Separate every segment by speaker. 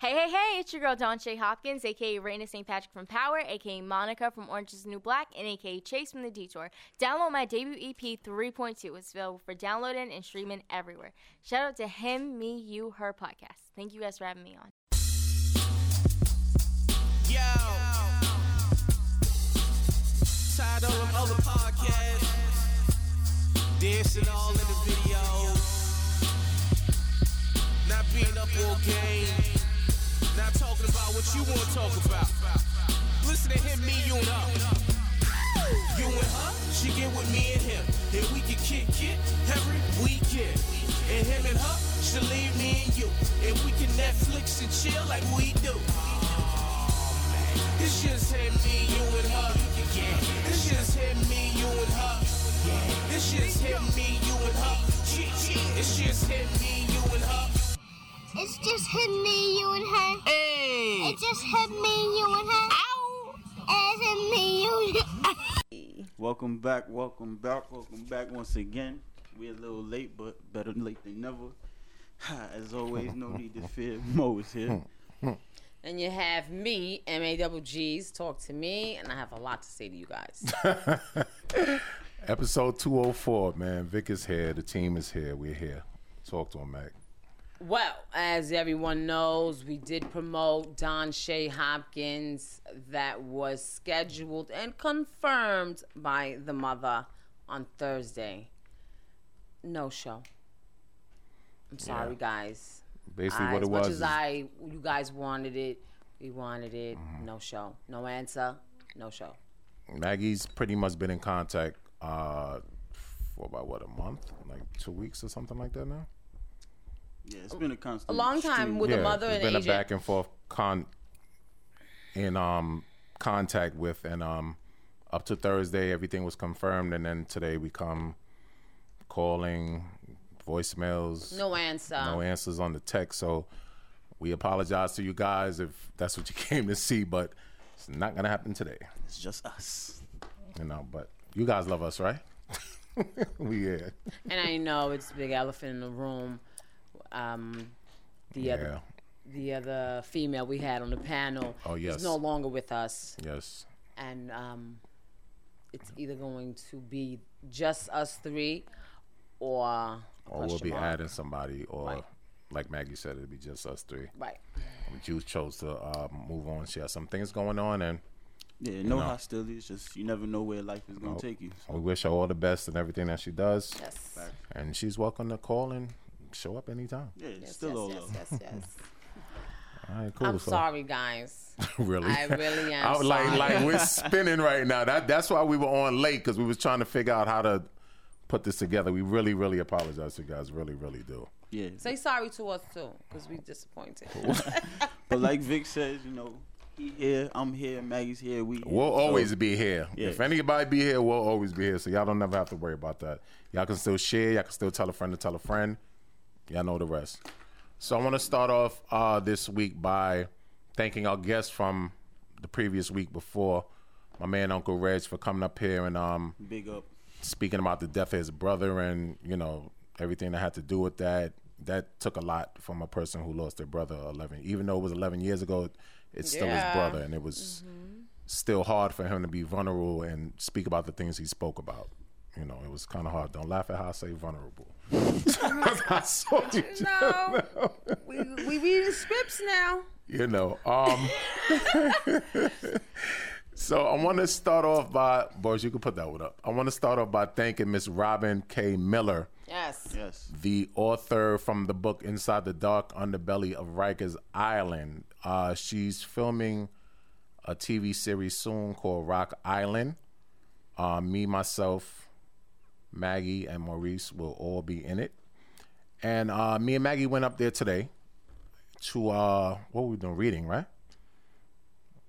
Speaker 1: Hey, hey, hey, it's your girl Dawn Shay Hopkins, aka Raina St. Patrick from Power, aka Monica from Orange is the New Black, and aka Chase from The Detour. Download my debut E EP 3.2. It's available for downloading and streaming everywhere. Shout out to Him, Me, You, Her podcast. Thank you guys for having me on.
Speaker 2: Yo. Tired of them other podcasts. Dancing all in the videos. Not being up all game. Not talking about what you want to talk about. Listen to him, me, you and her. You and her, she get with me and him. And we can kick it every weekend. And him and her, she leave me and you. And we can Netflix and chill like we do. It's just him, me, you and her. Yeah. It's just him, me, you and her. Yeah. It's just him, me, you and her. Gee, gee. It's just him, me, you and her.
Speaker 3: It's just him, me, you, and her.
Speaker 2: Hey.
Speaker 3: It's just him, me, you, and her. Ow! It's him, me, you.
Speaker 4: Welcome back, welcome back, welcome back once again. We're a little late, but better late than never. Ha, As always, no need to fear. Mo is here.
Speaker 5: And you have me, M A double G's, talk to me, and I have a lot to say to you guys.
Speaker 6: Episode 204, man. Vic is here. The team is here. We're here. Talk to him, Mac.
Speaker 5: well, as everyone knows, we did promote Don Shay Hopkins that was scheduled and confirmed by the mother on Thursday. No show. I'm sorry,
Speaker 6: Yeah.
Speaker 5: guys.
Speaker 6: Basically,
Speaker 5: I-
Speaker 6: what it
Speaker 5: as
Speaker 6: was.
Speaker 5: much as
Speaker 6: is-
Speaker 5: I, you guys wanted it, we wanted it.
Speaker 6: Mm-hmm.
Speaker 5: No show. No answer. No show.
Speaker 6: Maggie's pretty much been in contact uh, for about, what, a month? Like two weeks or something like that now?
Speaker 4: Yeah, it's been a constant.
Speaker 5: A long time
Speaker 4: stream.
Speaker 5: with the mother
Speaker 6: there's
Speaker 5: and
Speaker 6: been
Speaker 5: agent.
Speaker 6: a back and forth con in um contact with and um up to Thursday everything was confirmed and then today we come calling voicemails
Speaker 5: No answer.
Speaker 6: no answers on the text so we apologize to you guys if that's what you came to see but it's not gonna happen today
Speaker 4: It's just us.
Speaker 6: you know but you guys love us right we yeah
Speaker 5: and I know it's a big elephant in the room. Um, the
Speaker 6: yeah
Speaker 5: other the other female we had on the panel
Speaker 6: Oh, yes.
Speaker 5: is no longer with us,
Speaker 6: yes
Speaker 5: and um, it's either going to be just us three, or a
Speaker 6: or we'll
Speaker 5: question
Speaker 6: be
Speaker 5: mark.
Speaker 6: adding somebody or
Speaker 5: Right.
Speaker 6: like Maggie said it'd be just us three
Speaker 5: right.
Speaker 6: Juice chose to uh, move on. She has some things going on, and
Speaker 4: Yeah, no,
Speaker 6: No.
Speaker 4: hostilities. Just you never know where life is gonna
Speaker 6: Nope.
Speaker 4: take you.
Speaker 6: oh, we wish her all the best in everything that she does.
Speaker 5: Yes.
Speaker 6: And she's welcome to call and show up anytime.
Speaker 4: Yeah, it's
Speaker 5: Yes,
Speaker 4: still all
Speaker 5: yes,
Speaker 4: love.
Speaker 5: yes, yes, yes.
Speaker 6: All right, cool.
Speaker 5: I'm
Speaker 6: so-
Speaker 5: sorry, guys.
Speaker 6: really,
Speaker 5: I really am
Speaker 6: I was like,
Speaker 5: sorry.
Speaker 6: like we're spinning right now. That that's why we were on late because we was trying to figure out how to put this together. We really, really apologize to you guys. Really, really do.
Speaker 4: Yeah,
Speaker 5: Say sorry to us too, because we disappointed.
Speaker 4: but like Vic says, you know, he here, I'm here, Maggie's here. We
Speaker 6: We'll always be here.
Speaker 4: Yeah.
Speaker 6: If anybody be here, we'll always be here. So y'all don't never have to worry about that. Y'all can still share. Y'all can still tell a friend to tell a friend. Y'all know the rest. So I want to start off uh, this week by thanking our guests from the previous week before, my man Uncle Reg for coming up here and um,
Speaker 4: big up.
Speaker 6: speaking about the death of his brother and you know everything that had to do with that that took a lot from a person who lost their brother 11 even though it was 11 years ago it's still
Speaker 5: Yeah.
Speaker 6: his brother and it was still hard for him to be vulnerable and speak about the things he spoke about you know it was kind of hard don't laugh at how i say vulnerable I saw you just-
Speaker 5: no, we we reading scripts now.
Speaker 6: you know. Um, so I want to start off by, boys, you can put that one up. I want to start off by thanking Miss Robin K. Miller,
Speaker 5: Yes.
Speaker 4: Yes,
Speaker 6: the author from the book Inside the Dark Underbelly of Rikers Island. Uh, she's filming a TV series soon called Rock Island. Uh, me, myself, Maggie, and Maurice will all be in it. And uh, me and Maggie went up there today to uh, what were we doing? Reading, right?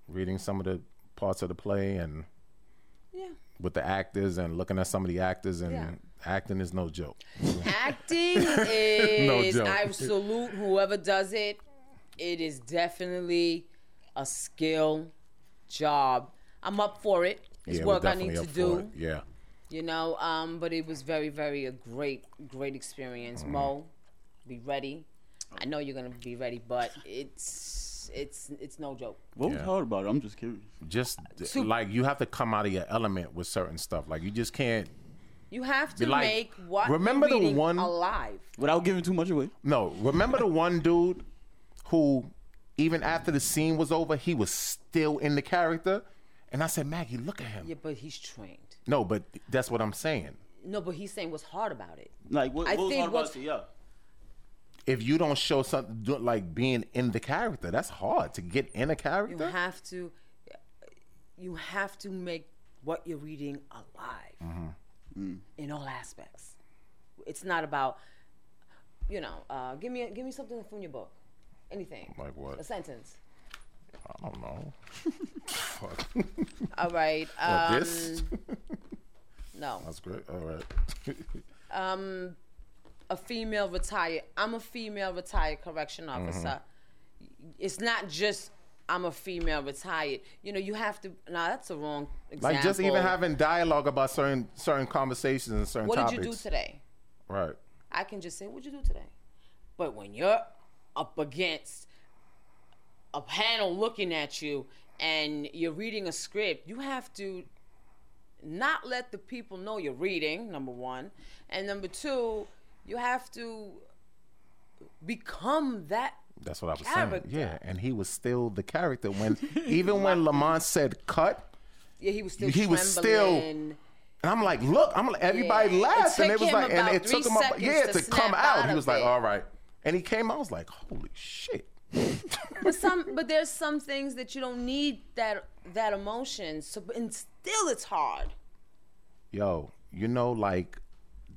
Speaker 6: Reading some of the parts of the play and
Speaker 5: Yeah.
Speaker 6: with the actors and looking at some of the actors and
Speaker 5: Yeah.
Speaker 6: acting is no joke.
Speaker 5: Acting is
Speaker 6: joke.
Speaker 5: I salute whoever does it. It is definitely a skill job. I'm up for it. It's
Speaker 6: we're
Speaker 5: work I need to
Speaker 6: definitely up
Speaker 5: do.
Speaker 6: for it. Yeah.
Speaker 5: You know,
Speaker 6: Mm.
Speaker 5: um, but it was very, very a great, great experience. Mo, be ready. I know you're gonna be ready, but it's it's it's no joke.
Speaker 4: What was
Speaker 6: Yeah.
Speaker 4: hard about it? I'm just curious.
Speaker 6: Just like you have to come out of your element with certain stuff. Like you just can't.
Speaker 5: You have to
Speaker 6: Be like-
Speaker 5: make what
Speaker 6: remember the
Speaker 5: you're reading
Speaker 6: one-
Speaker 5: alive.
Speaker 4: Without giving too much away.
Speaker 6: No, remember the one dude who, even after the scene was over, he was still in the character. And I said, Maggie, look at him.
Speaker 5: Yeah, but he's trained.
Speaker 6: No, but that's what I'm saying.
Speaker 5: No, but he's saying what's hard about it.
Speaker 4: Like what,
Speaker 5: I
Speaker 4: what was
Speaker 5: think
Speaker 4: hard about
Speaker 5: what's-
Speaker 4: it? to y'all?
Speaker 6: If you don't show something do- like being in the character, that's hard to get in a
Speaker 5: You
Speaker 6: character.
Speaker 5: have to you have to make what you're reading alive
Speaker 6: Mm-hmm.
Speaker 5: in all aspects. It's not about you know, uh, give me give me something from your book, anything.
Speaker 6: Like what?
Speaker 5: A sentence.
Speaker 6: I don't know. Fuck.
Speaker 5: All right. Um,
Speaker 6: Or this?
Speaker 5: No.
Speaker 6: That's great. All right.
Speaker 5: a female retired. I'm a female retired correction
Speaker 6: Mm-hmm.
Speaker 5: officer. It's not just I'm a female retired. You know, you have to. Nah, that's a wrong example.
Speaker 6: like just even having dialogue about certain certain conversations and certain
Speaker 5: What
Speaker 6: topics.
Speaker 5: did you do today?
Speaker 6: Right.
Speaker 5: I can just say, "What'd you do today?" But when you're up against a panel looking at you and you're reading a script, you have to not let the people know you're reading. Number one, and number two, you have to become that
Speaker 6: That's what I was
Speaker 5: Character.
Speaker 6: saying. Yeah, and he was still the character when even when Lamont said cut,
Speaker 5: Yeah, he was still
Speaker 6: He
Speaker 5: he
Speaker 6: was still- and I'm like, look, I'm like, everybody
Speaker 5: Yeah, it
Speaker 6: laughed, and
Speaker 5: took
Speaker 6: it was
Speaker 5: him
Speaker 6: like, and
Speaker 5: about
Speaker 6: it took
Speaker 5: three
Speaker 6: him up,
Speaker 5: seconds
Speaker 6: yeah,
Speaker 5: to
Speaker 6: to come
Speaker 5: snap
Speaker 6: out.
Speaker 5: out
Speaker 6: He
Speaker 5: of
Speaker 6: was like,
Speaker 5: it.
Speaker 6: all right, and he came out. I was like, holy shit.
Speaker 5: But some, but there's some things that you don't need that that emotion. So, but- and still, it's hard.
Speaker 6: Yo, you know, like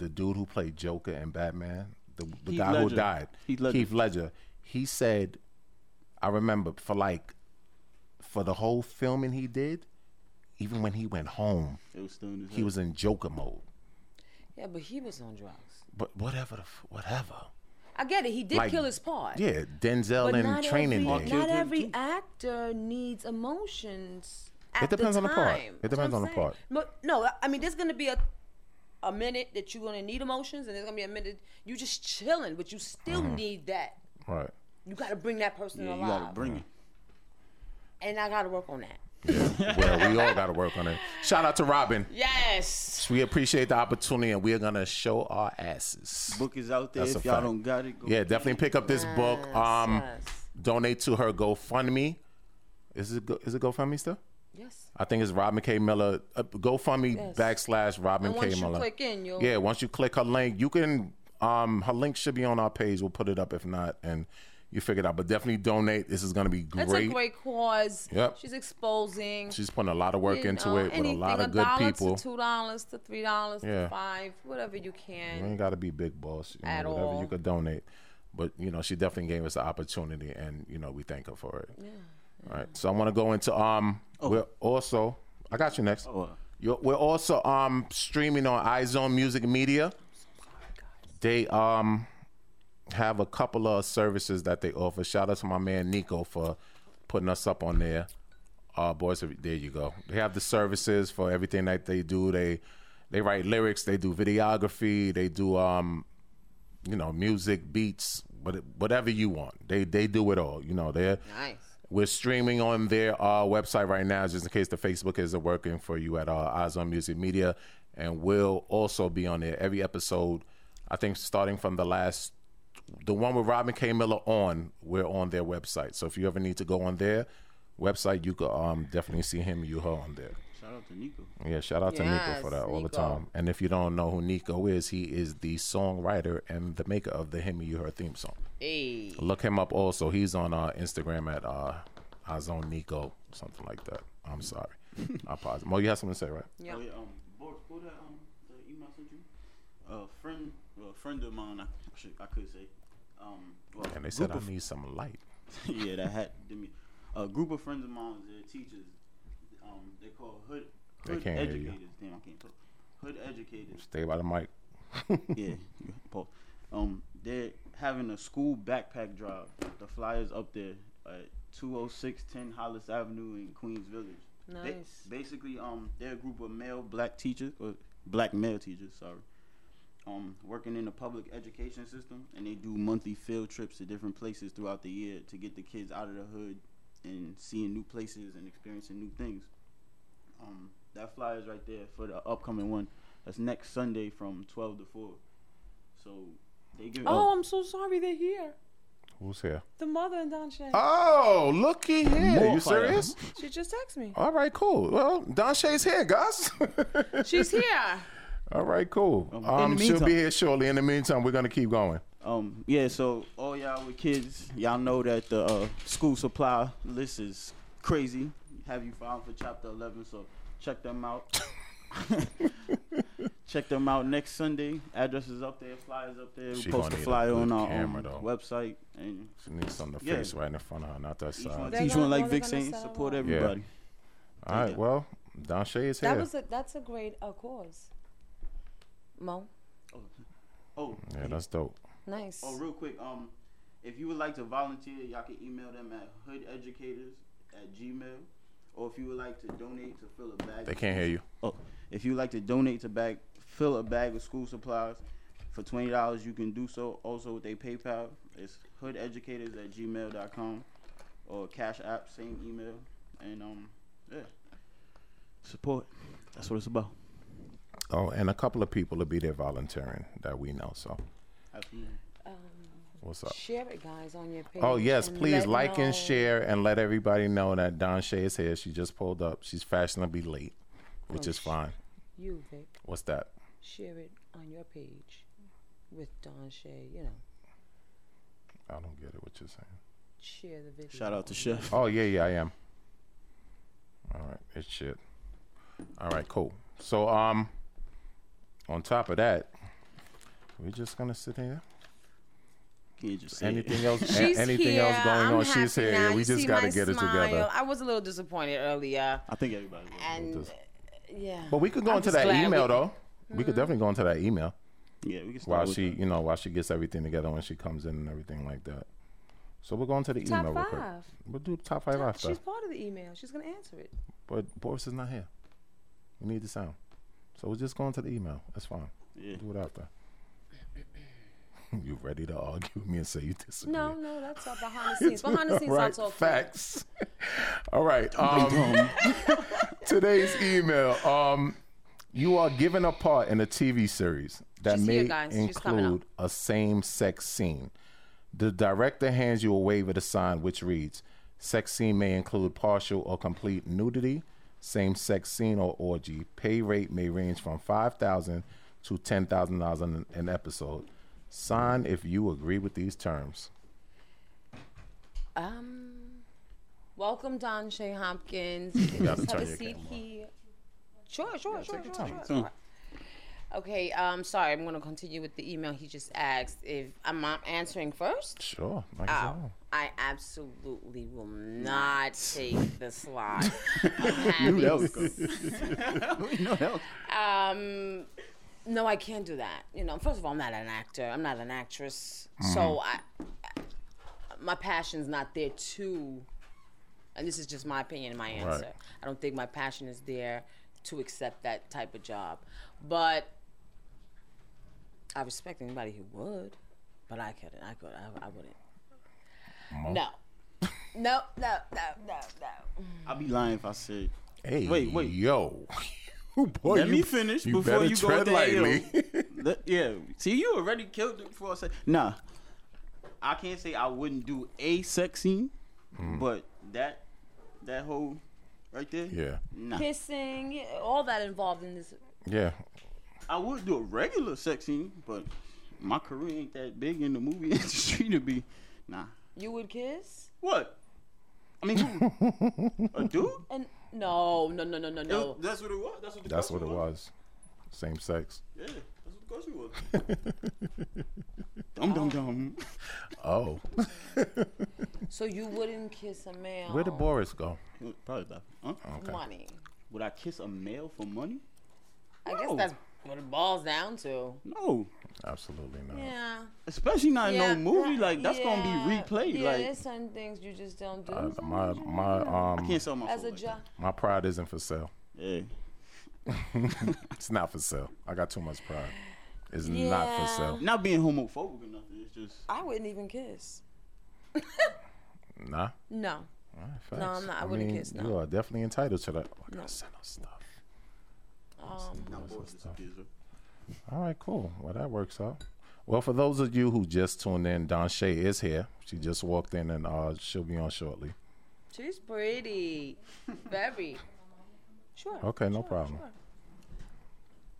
Speaker 6: the dude who played Joker and Batman, the, the
Speaker 4: Heath
Speaker 6: guy who
Speaker 4: Ledger.
Speaker 6: died,
Speaker 4: Heath Ledger.
Speaker 6: Keith Ledger. He said, I remember for like for the whole filming he did, even when he went home,
Speaker 4: It was still in his
Speaker 6: he
Speaker 4: head.
Speaker 6: was in Joker mode.
Speaker 5: Yeah, but he was on drugs.
Speaker 6: But whatever, the, f- whatever.
Speaker 5: I get it. He did
Speaker 6: Like,
Speaker 5: kill his part.
Speaker 6: Yeah, Denzel
Speaker 5: but
Speaker 6: in
Speaker 5: not
Speaker 6: Training
Speaker 5: every,
Speaker 6: Day.
Speaker 5: Not
Speaker 4: Killed him
Speaker 5: every
Speaker 4: too.
Speaker 5: actor needs emotions. At
Speaker 6: It depends
Speaker 5: the
Speaker 6: on the
Speaker 5: time.
Speaker 6: part. It
Speaker 5: That's
Speaker 6: depends
Speaker 5: what
Speaker 6: on the
Speaker 5: I'm saying.
Speaker 6: part.
Speaker 5: But no, I mean, there's gonna be a a minute that you're gonna need emotions, and there's gonna be a minute you just chilling, but you still
Speaker 6: Mm-hmm.
Speaker 5: need that.
Speaker 6: Right.
Speaker 5: You gotta bring that person
Speaker 4: Yeah, you
Speaker 5: alive,
Speaker 4: gotta bring it.
Speaker 5: and I gotta work on that.
Speaker 6: well, we all got to work on it. Shout out to Robin.
Speaker 5: Yes.
Speaker 6: We appreciate the opportunity, and we are gonna show our asses.
Speaker 4: Book is out there.
Speaker 6: That's
Speaker 4: if
Speaker 6: a
Speaker 4: y'all
Speaker 6: fact.
Speaker 4: don't got it, go
Speaker 6: Yeah, definitely pick up this book. Um,
Speaker 5: yes.
Speaker 6: donate to her GoFundMe. Is it Go- is it GoFundMe still?
Speaker 5: Yes.
Speaker 6: I think it's Robin K Miller. Uh, GoFundMe
Speaker 5: Yes.
Speaker 6: backslash Robin
Speaker 5: And
Speaker 6: K
Speaker 5: once you
Speaker 6: Miller.
Speaker 5: click in, you'll
Speaker 6: yeah, once you click her link, you can. Um, her link should be on our page. We'll put it up if not, and you figure it out. But definitely donate. This is gonna be
Speaker 5: it's a great cause.
Speaker 6: Yep.
Speaker 5: She's exposing.
Speaker 6: She's putting a lot of work
Speaker 5: you
Speaker 6: into
Speaker 5: know,
Speaker 6: it with a lot
Speaker 5: uh, anything,
Speaker 6: of good
Speaker 5: dollar
Speaker 6: people.
Speaker 5: To Two dollars to three dollars
Speaker 6: Yeah.
Speaker 5: to five, whatever you can.
Speaker 6: You ain't got to be big boss. You know,
Speaker 5: At
Speaker 6: whatever
Speaker 5: all.
Speaker 6: you could donate. But, you know, she definitely gave us the opportunity and, you know, we thank her for it. All right. So I want to go into, um, we're also, I got you next.
Speaker 4: Oh, uh,
Speaker 6: You're, we're also um streaming on iZone Music Media. They um have a couple of services that they offer. Shout out to my man Nico for putting us up on there. Uh, boys, there you go. They have the services for everything that they do. They they write lyrics. They do videography. They do um you know music beats. What, whatever you want, they they do it all. You know they're
Speaker 5: Nice.
Speaker 6: we're streaming on their uh, website right now, just in case the Facebook isn't working for you at uh, Eyes on Music Media. And we'll also be on there every episode. I think starting from the last, the one with Robin K. Miller on, we're on their website. So if you ever need to go on their website, you could um, definitely see him, you, her on there.
Speaker 4: shout out to Nico.
Speaker 6: Yeah, shout out to Nico
Speaker 5: Yes,
Speaker 6: for that all the
Speaker 5: Nico.
Speaker 6: time. And if you don't know who Nico is, he is the songwriter and the maker of the Him, You, Her theme song
Speaker 5: Hey.
Speaker 6: look him up also he's on uh instagram at uh Azon nico something like that i'm sorry i pause mo you have something to say right
Speaker 5: Yeah.
Speaker 4: Oh yeah, um, Boris, go to um, the email I sent you. A friend, well, a friend of mine. I, I should, I could say. Um, well,
Speaker 6: and they
Speaker 4: group
Speaker 6: said i
Speaker 4: of,
Speaker 6: need some light
Speaker 4: yeah, that had to me. A group of friends of mine, they're teachers. Um, they call hood
Speaker 6: They
Speaker 4: hood
Speaker 6: can't hear you.
Speaker 4: educators. Damn, I can't talk. Hood educators.
Speaker 6: stay by the mic
Speaker 4: yeah, yeah, Paul. Um, they're having a school backpack drive. The flyers up there at 20610 Hollis Avenue in Queens Village. Ba-
Speaker 5: Nice.
Speaker 4: basically, um, they're a group of male black teachers or black male teachers. Sorry. um, working in the public education system, and they do monthly field trips to different places throughout the year to get the kids out of the hood and seeing new places and experiencing new things. Um, that flyer is right there for the upcoming one. That's next Sunday from twelve to four. So they give.
Speaker 5: Oh, I'm so sorry they're here.
Speaker 6: Who's here?
Speaker 5: The mother and Don Shay.
Speaker 6: Oh, looky here.
Speaker 4: More
Speaker 6: you
Speaker 4: fire.
Speaker 6: serious?
Speaker 5: She just texted me.
Speaker 6: All right, cool. Well, Don Shay's here, guys.
Speaker 5: She's here.
Speaker 6: All right, cool.
Speaker 4: Um, in
Speaker 6: Um,
Speaker 4: the
Speaker 6: she'll
Speaker 4: meantime-
Speaker 6: be here shortly. In the meantime, we're gonna keep going.
Speaker 4: Um, yeah, so all y'all with kids, y'all know that the uh, school supply list is crazy. Have you filed for Chapter 11? So check them out. check them out next Sunday. Address is up there, flyers up there. We
Speaker 6: She
Speaker 4: post
Speaker 6: gonna
Speaker 4: the
Speaker 6: need a
Speaker 4: flyer on
Speaker 6: good
Speaker 4: our
Speaker 6: camera,
Speaker 4: um,
Speaker 6: though.
Speaker 4: website. And
Speaker 6: She needs something to
Speaker 4: Yeah.
Speaker 6: face right in front of her, not that
Speaker 4: each one,
Speaker 6: side.
Speaker 5: They're
Speaker 4: teach one,
Speaker 5: gonna-
Speaker 4: like
Speaker 5: they're
Speaker 4: Vic
Speaker 5: gonna
Speaker 4: saying,
Speaker 5: set 'em
Speaker 4: support
Speaker 5: up.
Speaker 4: everybody.
Speaker 6: All right, well, Don Shay is here.
Speaker 5: That was a, that's a great uh, cause. Mo,
Speaker 4: Oh,
Speaker 6: yeah, that's dope.
Speaker 5: nice.
Speaker 4: Oh, real quick, um, if you would like to volunteer, y'all can email them at hoodeducators at gmail, or if you would like to donate to fill a bag.
Speaker 6: They can't hear you.
Speaker 4: Oh, if you would like to donate to bag, fill a bag with school supplies for twenty dollars, you can do so. Also with their PayPal, it's hoodeducators at gmail.com or Cash App, same email, and um, yeah, support. That's what it's about.
Speaker 6: Oh, and a couple of people will be there volunteering that we know. So,
Speaker 4: Absolutely.
Speaker 6: what's up?
Speaker 5: Share it, guys, on your page.
Speaker 6: Oh yes,
Speaker 5: and
Speaker 6: please
Speaker 5: let
Speaker 6: like
Speaker 5: know-
Speaker 6: and share and let everybody know that Don Shay is here. She just pulled up. She's fashionably late, which
Speaker 5: Oh,
Speaker 6: is fine.
Speaker 5: You, Vic,
Speaker 6: What's that?
Speaker 5: share it on your page with Don Shay. You know,
Speaker 6: I don't get it. What you're saying?
Speaker 5: share the video.
Speaker 4: Shout out to Chef.
Speaker 6: Oh yeah, yeah, I am. All right, it's shit. All right, cool. So um, on top of that, we're just gonna sit here.
Speaker 4: Can you just say it?
Speaker 6: Anything else? a-
Speaker 5: She's
Speaker 6: anything
Speaker 5: here.
Speaker 6: else going
Speaker 5: I'm
Speaker 6: on? She's
Speaker 5: happy
Speaker 6: here.
Speaker 5: now.
Speaker 6: We
Speaker 5: You
Speaker 6: just
Speaker 5: see
Speaker 6: gotta
Speaker 5: my
Speaker 6: get it
Speaker 5: smile.
Speaker 6: together.
Speaker 5: I was a little disappointed earlier,
Speaker 4: I think everybody. will.
Speaker 5: and
Speaker 6: Just-
Speaker 5: yeah.
Speaker 6: But we could go
Speaker 5: I'm
Speaker 6: into
Speaker 5: just
Speaker 6: that
Speaker 5: glad
Speaker 6: email
Speaker 5: we- Mm-hmm.
Speaker 6: though. We could definitely go into that email.
Speaker 4: Yeah, we can start.
Speaker 6: while
Speaker 4: with
Speaker 6: she,
Speaker 4: that.
Speaker 6: you know, while she gets everything together when she comes in and everything like that. So we're going to the
Speaker 5: Top
Speaker 6: email real quick.
Speaker 5: five.
Speaker 6: We'll do the top five after.
Speaker 5: She's part of the email. She's gonna answer it.
Speaker 6: But Boris is not here. We need the sound. So we're just going to the email. That's fine.
Speaker 4: Yeah.
Speaker 6: Do it after. you ready to argue with me and say you disagree?
Speaker 5: No, no, that's all behind the scenes. Behind the scenes, I'll
Speaker 6: Alright,
Speaker 5: talk.
Speaker 6: facts. All right. Um, today's email. Um, you are given a part in a TV series that
Speaker 5: She's
Speaker 6: may
Speaker 5: here, guys. She's coming up.
Speaker 6: include a same-sex scene. The director hands you a waiver to sign, which reads: "Sex scene may include partial or complete nudity, same-sex scene or orgy. Pay rate may range from five thousand to ten thousand dollars an an episode. Sign if you agree with these terms."
Speaker 5: Um, welcome, Don Shay Hopkins.
Speaker 6: gotta
Speaker 5: Just have
Speaker 6: turn
Speaker 5: a
Speaker 6: your
Speaker 5: seat
Speaker 6: camera on.
Speaker 5: here. Sure, sure, sure, sure,
Speaker 6: time.
Speaker 5: sure,
Speaker 4: Hmm.
Speaker 5: sure. Okay, um, sorry, I'm gonna continue with the email he just asked. If I'm I'm answering first,
Speaker 6: Sure. Like
Speaker 5: Oh, I absolutely will not take the slot. I'm
Speaker 4: Knew that
Speaker 5: happy
Speaker 4: was coming. Knew that was-
Speaker 5: um, no, I can't do that. You know, first of all, I'm not an actor. I'm not an actress. So I, I- my passion's not there to, and this is just my opinion and my answer. I don't think my passion is there to accept that type of job. But I respect anybody who would, but I couldn't. I could. I, I wouldn't.
Speaker 6: Mo-
Speaker 5: No. No, no, no, no, no.
Speaker 4: I'd be lying if I said.
Speaker 6: Hey,
Speaker 4: Wait, wait.
Speaker 6: yo. Boy,
Speaker 4: Let me finish before
Speaker 6: Oh, better
Speaker 4: you go
Speaker 6: tread
Speaker 4: there,
Speaker 6: lightly.
Speaker 4: Let- yeah. See, you already killed it before I said. Nah. I can't say I wouldn't do a sex scene,
Speaker 6: Mm.
Speaker 4: but that that whole right there.
Speaker 6: yeah,
Speaker 4: Nah.
Speaker 5: Kissing, yeah, all that involved in this.
Speaker 6: yeah.
Speaker 4: I would do a regular sex scene, but my career ain't that big in the movie industry to be. Nah.
Speaker 5: You would kiss?
Speaker 4: What? I mean, who? a dude?
Speaker 5: And no, no, no, no, no,
Speaker 4: That-
Speaker 5: no.
Speaker 4: That's what it was. That's what, the
Speaker 6: That's what
Speaker 4: question
Speaker 6: it was. Same sex.
Speaker 4: Yeah, that's what the question was. dum dum dum.
Speaker 6: Oh,
Speaker 5: So you wouldn't kiss a man.
Speaker 6: where did Boris go?
Speaker 4: Probably that. Huh?
Speaker 5: Uh-huh.
Speaker 6: Okay.
Speaker 5: money?
Speaker 4: Would I kiss a male for money?
Speaker 5: I guess
Speaker 4: No.
Speaker 5: that's what it boils down to.
Speaker 4: No,
Speaker 6: Absolutely not.
Speaker 5: Yeah.
Speaker 4: especially not
Speaker 5: yeah,
Speaker 4: in no movie.
Speaker 5: that-
Speaker 4: Like that's
Speaker 5: yeah,
Speaker 4: gonna be replayed.
Speaker 5: Yeah,
Speaker 4: like
Speaker 5: there's some things you just don't do.
Speaker 6: Uh,
Speaker 5: some
Speaker 6: my
Speaker 5: things you
Speaker 6: my
Speaker 4: I
Speaker 6: um
Speaker 4: can't sell my
Speaker 5: as
Speaker 4: soul
Speaker 5: a
Speaker 4: like
Speaker 5: job.
Speaker 6: my pride isn't for sale.
Speaker 4: that. Yeah.
Speaker 6: It's not for sale. I got too much pride. It's not for sale.
Speaker 4: Not being homophobic or nothing. It's just
Speaker 5: I wouldn't even kiss.
Speaker 6: Nah.
Speaker 5: No.
Speaker 6: Facts.
Speaker 5: I'm not- I wouldn't kiss, no.
Speaker 6: You are definitely entitled to that. Like, I
Speaker 5: No.
Speaker 6: sent her stuff.
Speaker 5: Um,
Speaker 4: not bored. It's a kids, right?
Speaker 6: All right, cool. Well, that works out. Well, for those of you who just tuned in, Don Shay is here. She just walked in, and uh, she'll be on shortly.
Speaker 5: She's pretty. Very. Sure.
Speaker 6: Okay, no problem.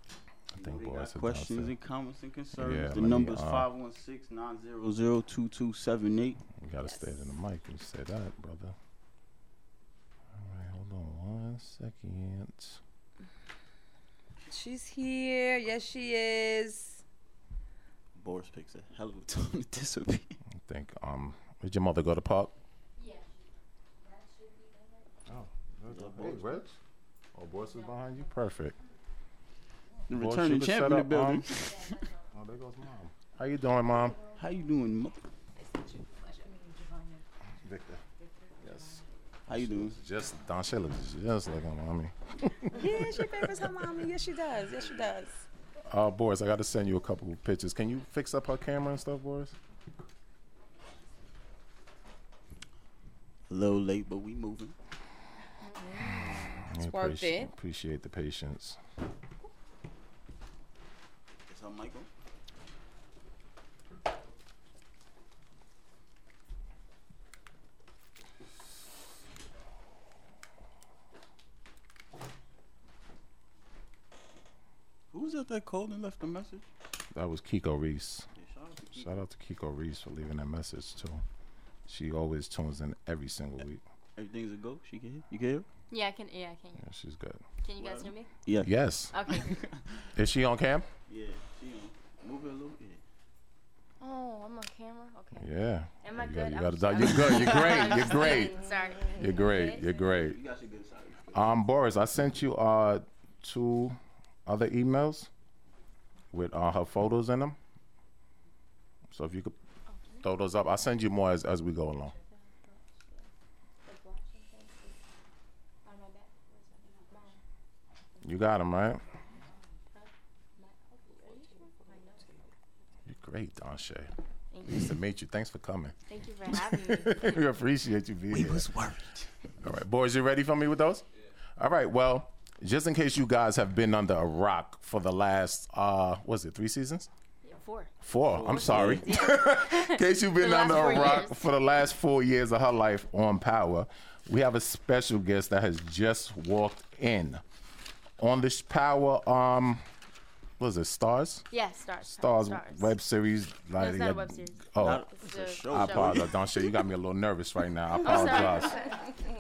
Speaker 6: I think
Speaker 4: They
Speaker 6: boys
Speaker 4: got
Speaker 6: are
Speaker 4: questions
Speaker 6: downstairs.
Speaker 4: and comments and concerns.
Speaker 6: Yeah,
Speaker 4: the
Speaker 6: let me,
Speaker 4: number's
Speaker 6: uh,
Speaker 4: 516 900 2278.
Speaker 6: You gotta stay in the mic. You say that, brother. All right, hold on one second.
Speaker 5: She's here. Yes, she is.
Speaker 4: Boris picks a hell of a time to disappear.
Speaker 6: I think um, did your mother go to park? Oh, hey, Rich. Oh, boys is behind you. Perfect.
Speaker 4: The
Speaker 6: Boris
Speaker 4: returning
Speaker 6: should have
Speaker 4: champion in the
Speaker 6: set up,
Speaker 4: building.
Speaker 6: um, Oh, there goes mom. How you doing, mom?
Speaker 4: How you doing, mother?
Speaker 6: Victor. Yes.
Speaker 4: How you doing?
Speaker 6: Just Don Shayla is just like my mommy.
Speaker 5: Yeah, she favors her mommy. Yes, she does. Yes, she does.
Speaker 6: Uh, Boris, I got to send you a couple of pictures. Can you fix up her camera and stuff, Boris?
Speaker 4: A little late, but we moving.
Speaker 6: It's
Speaker 5: worth it.
Speaker 6: Appreciate the patience.
Speaker 4: Is that Michael? Who was out there cold and left a message?
Speaker 6: That was Kiko Reese.
Speaker 4: Yeah, shout out to Keith.
Speaker 6: Shout out to Kiko Reese for leaving that message too. She always tunes in every single week.
Speaker 4: Everything's a go. She can hear. You can hear?
Speaker 1: Yeah, I can. Yeah, I can.
Speaker 6: Yeah, she's good.
Speaker 1: Can you guys hear me?
Speaker 4: Yeah.
Speaker 6: Yes.
Speaker 1: Okay.
Speaker 6: Is she on cam?
Speaker 4: Yeah. She on. Move it a little bit.
Speaker 1: oh, I'm on camera. Okay.
Speaker 6: Yeah.
Speaker 1: Am I
Speaker 6: You
Speaker 1: good?
Speaker 6: got, you
Speaker 1: I'm
Speaker 6: got to
Speaker 1: sorry.
Speaker 6: You're good. You're great. You're great.
Speaker 1: Sorry.
Speaker 6: You're great. You're great.
Speaker 4: You got your good side.
Speaker 6: Um, Boris, I sent you uh two other emails with uh, her photos in them. So if you could throw those up, I'll send you more as, as we go along. You got them right. You're great, Don Shay.
Speaker 1: Thank
Speaker 6: Nice to meet you. Thanks for coming.
Speaker 1: Thank you for having me.
Speaker 6: we appreciate you being here.
Speaker 4: worried.
Speaker 6: All right, boys, you ready for me with those? All right, well, just in case you guys have been under a rock for the last, uh, was it three seasons?
Speaker 1: Four.
Speaker 6: Four. I'm sorry. in case you've been
Speaker 1: The last
Speaker 6: under a
Speaker 1: four
Speaker 6: rock
Speaker 1: years.
Speaker 6: for the last four years of her life on Power, we have a special guest that has just walked in. On this Power, um, what is it, Stars?
Speaker 1: Yeah, stars.
Speaker 6: Stars, web series. Like,
Speaker 1: it's not a web series.
Speaker 6: Oh,
Speaker 1: The
Speaker 6: I
Speaker 1: show.
Speaker 6: apologize, Don Shay. You got me a little nervous right now. I apologize.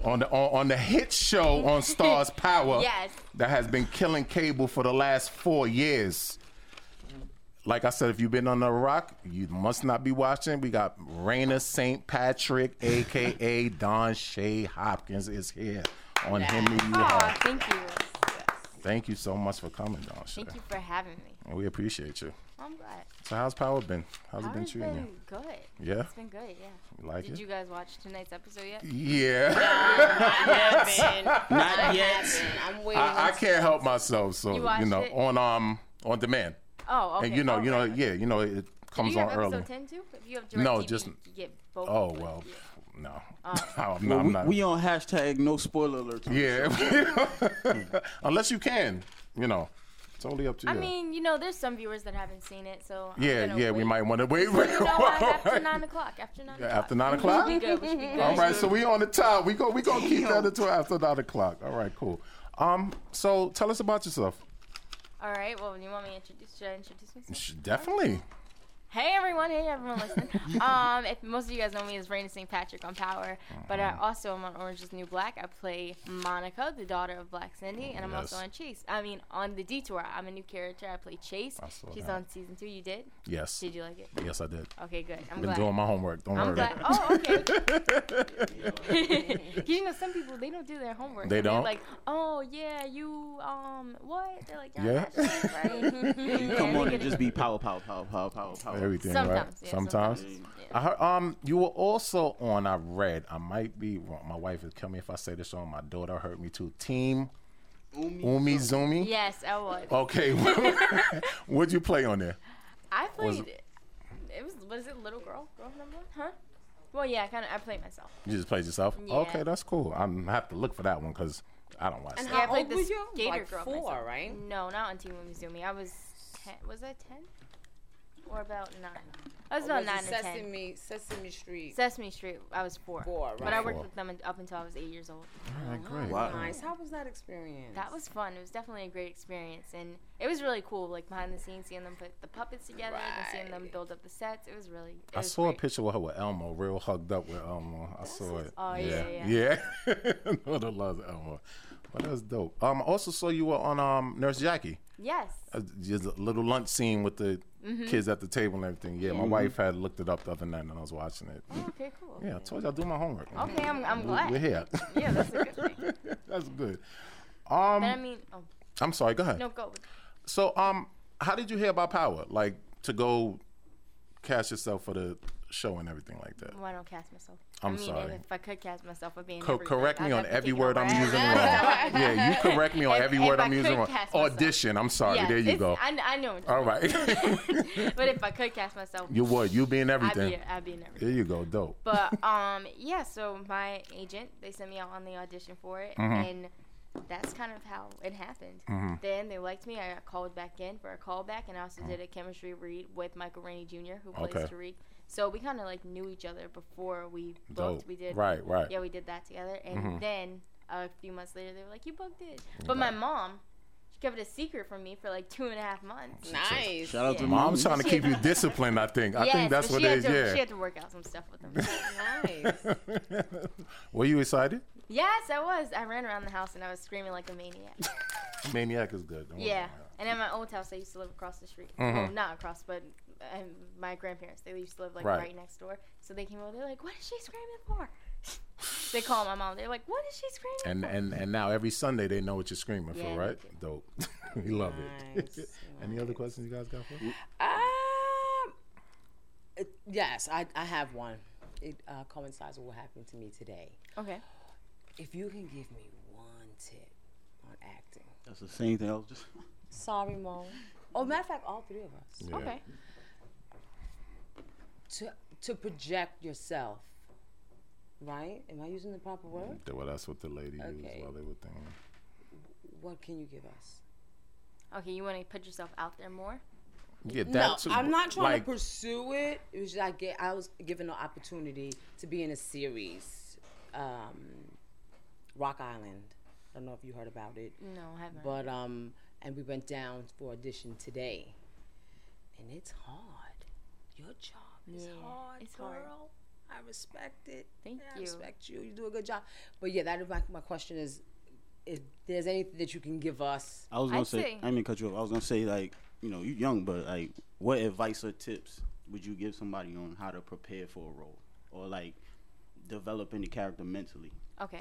Speaker 6: on the on, on the hit show on Stars Power
Speaker 1: Yes.
Speaker 6: that has been killing cable for the last four years. Like I said, if you've been on the rock, you must not be watching. We got Raina St. Patrick, aka Don Shay Hopkins, is here on Him and You
Speaker 1: Oh,
Speaker 6: Have.
Speaker 1: thank you.
Speaker 6: Thank you so much for coming, Don Shay.
Speaker 1: Thank you for having me.
Speaker 6: And we appreciate you.
Speaker 1: I'm glad.
Speaker 6: So how's Power been? How's it been
Speaker 1: Power's
Speaker 6: treating
Speaker 1: been good.
Speaker 6: you? Yeah,
Speaker 1: It's been good. Yeah.
Speaker 6: you like
Speaker 1: Did
Speaker 6: it?
Speaker 1: you guys watch tonight's episode yet?
Speaker 6: yeah,
Speaker 5: Not yet. I'm waiting.
Speaker 6: I, I can't help myself. So
Speaker 1: You
Speaker 6: you,
Speaker 1: watched
Speaker 6: know,
Speaker 1: it?
Speaker 6: on um on demand,
Speaker 1: Oh, okay.
Speaker 6: and you know,
Speaker 1: oh,
Speaker 6: you know,
Speaker 1: right.
Speaker 6: yeah, you know,
Speaker 1: Do
Speaker 6: it comes
Speaker 1: you
Speaker 6: on
Speaker 1: have
Speaker 6: early.
Speaker 1: episode ten too? If you have
Speaker 6: No,
Speaker 1: DirecTV,
Speaker 6: just-
Speaker 1: you get both.
Speaker 6: Oh
Speaker 1: but
Speaker 6: well,
Speaker 1: yeah.
Speaker 6: no,
Speaker 1: Oh.
Speaker 6: I'm
Speaker 4: Well,
Speaker 6: not. I'm
Speaker 4: we,
Speaker 6: not.
Speaker 4: we on hashtag no spoiler alert.
Speaker 6: yeah, unless you can, you know, totally up to
Speaker 1: I
Speaker 6: you.
Speaker 1: mean, you know, there's some viewers that haven't seen it, so I'm
Speaker 6: yeah,
Speaker 1: gonna
Speaker 6: yeah, we
Speaker 1: wait.
Speaker 6: might want to wait. wait,
Speaker 1: You know what? After
Speaker 6: wait.
Speaker 1: nine o'clock. After nine.
Speaker 6: Yeah,
Speaker 1: o'clock.
Speaker 6: after nine o'clock.
Speaker 1: We good. We should be good.
Speaker 6: All right, so we on the top. We go. We gonna keep that until after nine o'clock. All right, cool. Um, so tell us about yourself.
Speaker 1: All right. Well, you want me to introduce? Should I introduce myself?
Speaker 6: Sh- Definitely.
Speaker 1: Hey everyone, hey everyone listening. um, if most of you guys know me as Raina St. Patrick on Power, but
Speaker 6: Uh-huh.
Speaker 1: I also am on Orange is the New Black. I play Monica, the daughter of Black Cindy, and I'm also
Speaker 6: Yes.
Speaker 1: on Chase. I mean, on the Detour. I'm a new character. I play Chase.
Speaker 6: I saw
Speaker 1: She's
Speaker 6: that.
Speaker 1: on season two. You did?
Speaker 6: Yes.
Speaker 1: Did you like it?
Speaker 6: Yes, I did.
Speaker 1: Okay, good. I'm
Speaker 6: Been
Speaker 1: glad.
Speaker 6: doing my homework. Don't
Speaker 1: I'm
Speaker 6: worry.
Speaker 1: glad. Oh, okay. 'Cause you know, some people they don't do their homework.
Speaker 6: They
Speaker 1: And they're
Speaker 6: don't?
Speaker 1: Like, oh yeah, you um what? They're like,
Speaker 6: Yeah.
Speaker 1: yeah. that's right."
Speaker 4: You
Speaker 1: Yeah,
Speaker 4: come
Speaker 1: they
Speaker 4: on
Speaker 1: get it.
Speaker 4: and just be power, power, power, power, power, power.
Speaker 6: Everything, right?
Speaker 1: Sometimes, yeah,
Speaker 6: sometimes.
Speaker 1: sometimes, yeah.
Speaker 6: I heard, um, you were also on. I read. I might be wrong. My wife is kill me if I say this wrong. My daughter hurt me too. Team
Speaker 4: Umi.
Speaker 6: Umi Zumi?
Speaker 1: Yes, I would.
Speaker 6: Okay. What'd you play on there?
Speaker 1: I
Speaker 6: Was-
Speaker 1: played. it was was it little girl girl number one? Huh? Well, yeah, kind of. I played myself.
Speaker 6: You just played yourself?
Speaker 1: Yeah.
Speaker 6: Okay, that's cool. I'm gonna have to look for that one because I don't watch
Speaker 5: And
Speaker 6: that.
Speaker 1: Yeah, I
Speaker 5: how
Speaker 1: played
Speaker 5: old
Speaker 1: the
Speaker 5: were you?
Speaker 1: skater
Speaker 5: like
Speaker 1: girl
Speaker 5: four,
Speaker 1: myself.
Speaker 5: right?
Speaker 1: No, not on Team Zumi. I was ten. Was I ten? Or about nine? I was about
Speaker 5: Oh, Was it
Speaker 1: nine or ten.
Speaker 5: Sesame, Sesame Street.
Speaker 1: Sesame Street. I was four.
Speaker 5: Four,
Speaker 1: But I
Speaker 5: right.
Speaker 1: worked
Speaker 6: Four.
Speaker 1: with them un- up until I was eight years old.
Speaker 6: All right, great.
Speaker 4: Wow.
Speaker 5: Nice. How was that experience?
Speaker 1: That was fun. It was definitely a great experience, and it was really cool. Like behind the scenes, seeing them put the puppets together, and seeing them
Speaker 5: Right.
Speaker 1: build up the sets. It was really. It
Speaker 6: I
Speaker 1: was
Speaker 6: saw
Speaker 1: great.
Speaker 6: a picture with her with Elmo, real hugged up with Elmo. I saw it.
Speaker 1: Oh, yeah,
Speaker 6: yeah. yeah. Lord of loves Elmo. But that's dope. Um, I also saw you were on um Nurse Jackie.
Speaker 1: Yes.
Speaker 6: Uh, Just a little lunch scene with the
Speaker 1: Mm-hmm.
Speaker 6: kids at the table and everything. Yeah, my wife had looked it up the other night and I was watching it.
Speaker 1: Oh, Okay. Cool.
Speaker 6: Yeah, I told you I do my homework.
Speaker 1: Okay, I'm, I'm glad.
Speaker 6: We're here.
Speaker 1: Yeah, that's a good thing.
Speaker 6: that's good.
Speaker 1: But
Speaker 6: Um,
Speaker 1: I mean, oh,
Speaker 6: I'm sorry. Go ahead.
Speaker 1: no, go.
Speaker 6: So, um, how did you hear about Power? Like to go cast yourself for the show and everything like that.
Speaker 1: Why don't cast myself?
Speaker 6: I'm
Speaker 1: I mean,
Speaker 6: sorry.
Speaker 1: If I could cast myself, I'd be in
Speaker 6: Co-
Speaker 1: everything.
Speaker 6: correct me
Speaker 1: I'd
Speaker 6: on
Speaker 1: have to
Speaker 6: every
Speaker 1: take
Speaker 6: word
Speaker 1: over
Speaker 6: I'm
Speaker 1: every-
Speaker 6: using wrong. yeah, you correct me on
Speaker 1: If-
Speaker 6: every
Speaker 1: if
Speaker 6: word
Speaker 1: I
Speaker 6: I'm
Speaker 1: could
Speaker 6: using wrong.
Speaker 1: cast myself.
Speaker 6: Audition. I'm sorry.
Speaker 1: Yes,
Speaker 6: there you
Speaker 1: it's-
Speaker 6: go.
Speaker 1: I, I know. what you
Speaker 6: All
Speaker 1: mean.
Speaker 6: right.
Speaker 1: But if I could cast myself,
Speaker 6: you would. You being
Speaker 1: I'd be,
Speaker 6: everything.
Speaker 1: a- I'd be in everything.
Speaker 6: There you go. Dope.
Speaker 1: But um, yeah. So my agent, they sent me out on the audition for it,
Speaker 6: Mm-hmm.
Speaker 1: and that's kind of how it happened. Then they liked me. I got called back in for a callback, and I also did a chemistry read with Michael Rainey Jr., who plays
Speaker 6: Mm-hmm. Okay.
Speaker 1: Tariq. So we kind of like knew each other before we booked.
Speaker 6: Dope.
Speaker 1: We did
Speaker 6: Right. Right. Mm-hmm.
Speaker 1: yeah, we did that together. And then a few months later, they were like, "You booked it." But my mom, she kept it a secret from me for like two and a half months.
Speaker 5: nice.
Speaker 4: Shout out to
Speaker 1: Yeah.
Speaker 6: Mom's
Speaker 4: Umi.
Speaker 6: trying to keep you disciplined. I think. I think that's
Speaker 1: but
Speaker 6: what
Speaker 1: she
Speaker 6: it
Speaker 1: had
Speaker 6: is.
Speaker 1: to, She
Speaker 6: Yeah.
Speaker 1: had to work out some stuff with them.
Speaker 5: nice.
Speaker 6: Were you excited?
Speaker 1: yes, I was. I ran around the house and I was screaming like a maniac.
Speaker 6: Maniac is good. Don't worry
Speaker 1: Yeah.
Speaker 6: about it.
Speaker 1: And at my old house, I used to live across the street.
Speaker 6: Mm-hmm.
Speaker 1: Well, not across, but um, my grandparents, they used to live like
Speaker 6: Right.
Speaker 1: right. next door. So they came over. They're like, "What is she screaming for?" they call my mom. They're like, "What is she screaming?"
Speaker 6: And and and now every Sunday they know what you're screaming
Speaker 1: Yeah,
Speaker 6: for,
Speaker 1: they
Speaker 6: right? Dope. we love
Speaker 5: Nice,
Speaker 6: it. Any other questions you guys got for? us?
Speaker 5: Um, it- yes, I, I have one. It uh, coincides with what happened to me today.
Speaker 1: okay.
Speaker 5: If you can give me one tip on acting.
Speaker 4: That's the same thing. I was just.
Speaker 5: Sorry, Mo. Oh, matter of fact, all three of us.
Speaker 6: Yeah.
Speaker 1: Okay.
Speaker 5: To, to project yourself, right? Am I using the proper word?
Speaker 6: Th- Well, that's what the lady
Speaker 5: Okay.
Speaker 6: used while they were thinking.
Speaker 5: What can you give us?
Speaker 1: Okay, you want to put yourself out there more?
Speaker 6: Yeah, that
Speaker 5: No,
Speaker 6: too,
Speaker 5: I'm
Speaker 6: but,
Speaker 5: not trying
Speaker 6: like,
Speaker 5: to pursue it. It was just I get I was given the opportunity to be in a series, um, Rock Island. I don't know if you heard about it,
Speaker 1: No, I haven't.
Speaker 5: but um, and we went down for audition today, and it's hard. Your job is
Speaker 1: Yeah,
Speaker 5: hard,
Speaker 1: it's
Speaker 5: girl.
Speaker 1: hard.
Speaker 5: I respect it.
Speaker 1: Thank
Speaker 5: And I
Speaker 1: you.
Speaker 5: respect you. You do a good job. But yeah, that is my, my question is, if there's anything that you can give us.
Speaker 4: I was gonna
Speaker 1: I'd
Speaker 4: say,
Speaker 1: say-
Speaker 4: I didn't mean to cut you off. I was gonna say like, you know, you young, but like, what advice or tips would you give somebody on how to prepare for a role or like developing the character mentally?
Speaker 1: Okay.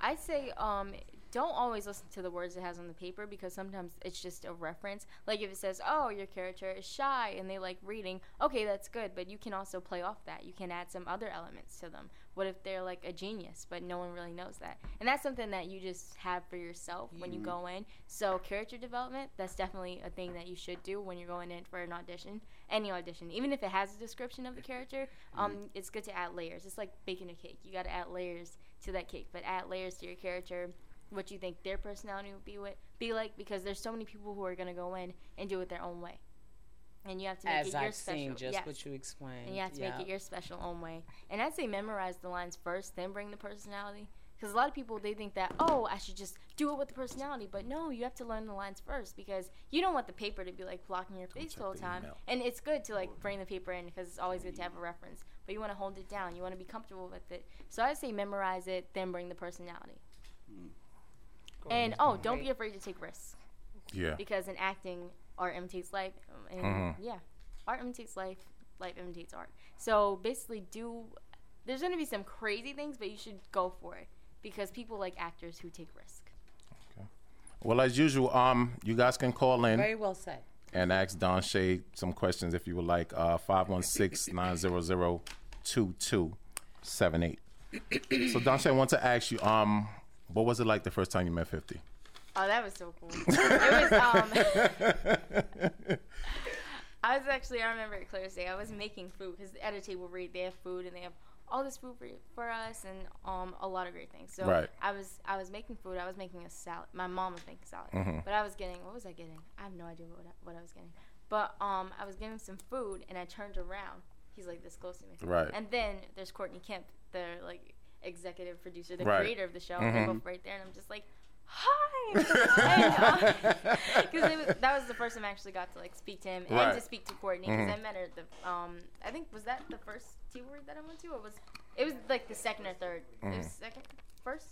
Speaker 1: I'd say um, don't always listen to the words it has on the paper because sometimes it's just a reference. Like if it says, oh, your character is shy and they like reading, okay, that's good, but you can also play off that. You can add some other elements to them. What if they're like a genius, but no one really knows that? And that's something that you just have for yourself when you go in. So, character development, that's definitely a thing that you should do when you're going in for an audition, any audition. Even if it has a description of the character, um, it's good to add layers. It's like baking a cake. You got to add layers to that cake, but add layers to your character, what you think their personality would be, what, be like, because there's so many people who are going to go in and do it their own way. And you have to make
Speaker 5: As
Speaker 1: it your
Speaker 5: I've
Speaker 1: special.
Speaker 5: seen, just
Speaker 1: yes.
Speaker 5: what you explained.
Speaker 1: And you have to
Speaker 5: Yeah.
Speaker 1: make it your special own way. And I'd say memorize the lines first, then bring the personality. Because a lot of people, they think that, oh, I should just do it with the personality. But no, you have to learn the lines first because you don't want the paper to be like blocking your face the whole
Speaker 6: the
Speaker 1: time.
Speaker 6: email.
Speaker 1: And it's good to like bring the paper in because it's always good to have a reference. But you want to hold it down, you want to be comfortable with it. So I'd say memorize it, then bring the personality.
Speaker 6: Hmm.
Speaker 1: And oh, don't be afraid to take risks
Speaker 6: Yeah.
Speaker 1: because in acting, art imitates life, um, and yeah, art imitates life, life imitates art. So basically, do there's gonna be some crazy things, but you should go for it because people like actors who take risk.
Speaker 6: Well, as usual, um, you guys can call in
Speaker 5: Very well said.
Speaker 6: and ask Don Shay some questions if you would like. Uh, 516-900-2278. so Don Shay, I want to ask you, um, what was it like the first time you met 50?
Speaker 1: Oh, that was so cool. it was um I was actually I remember it clear as day. I was making food because at a table read they have food and they have all this food for, for us and um a lot of great things. So
Speaker 6: Right.
Speaker 1: I was I was making food. I was making a salad. My mom was making salad,
Speaker 6: Mm-hmm.
Speaker 1: but I was getting what was I getting? I have no idea what I, what I was getting. But um I was getting some food and I turned around. He's like this close to me.
Speaker 6: Right.
Speaker 1: And then there's Courtney Kemp, the like executive producer, the
Speaker 6: Right. Mm-hmm.
Speaker 1: creator of the show. They're both right there, and I'm just like. uh, Hi, because that was the first time I actually got to like speak to him and
Speaker 6: Right.
Speaker 1: to speak to Courtney because I met her. The um, I think was that the first T word that I went to, or was it was like the second or third? It was second, first,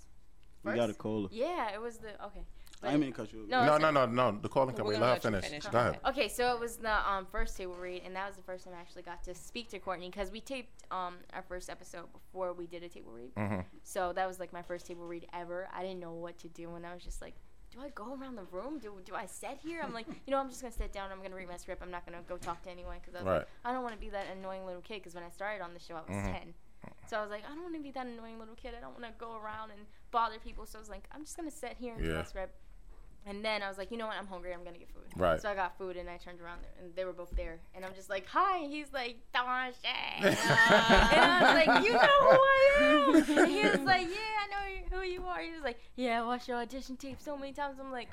Speaker 4: We
Speaker 1: first.
Speaker 4: got a cola.
Speaker 1: Yeah, it was the okay.
Speaker 4: I didn't mean to cut you. off.
Speaker 1: No,
Speaker 6: No,
Speaker 1: it's
Speaker 6: no,
Speaker 1: okay.
Speaker 6: no, no. The calling can
Speaker 7: We're
Speaker 6: wait.
Speaker 7: gonna
Speaker 6: Let her
Speaker 7: let you
Speaker 6: finish.
Speaker 7: finish.
Speaker 6: Go ahead.
Speaker 1: Okay, so it was the um, first table read, and that was the first time I actually got to speak to Courtney because we taped um, our first episode before we did a table read. So that was like my first table read ever. I didn't know what to do, and I was just like, "Do I go around the room? Do do I sit here?" I'm like, you know, I'm just gonna sit down. I'm gonna read my script. I'm not gonna go talk to anyone because I was
Speaker 6: Mm-hmm.
Speaker 1: like,
Speaker 6: Right. Mm-hmm.
Speaker 1: I don't want to be that annoying little kid because when I started on the show, I was ten. So I was like, I don't want to be that annoying little kid. I don't want to go around and bother people. So I was like, I'm just gonna sit here and do
Speaker 6: Yeah.
Speaker 1: my script. And then I was like, you know what? I'm hungry. I'm gonna get food.
Speaker 6: Right.
Speaker 1: So I got food, and I turned around, and they were both there. And I'm just like, hi. He's like, Don Shay. and I was like, you know who I am. And he was like, yeah, I know who you are. He was like, yeah, I watched your audition tape so many times. I'm like,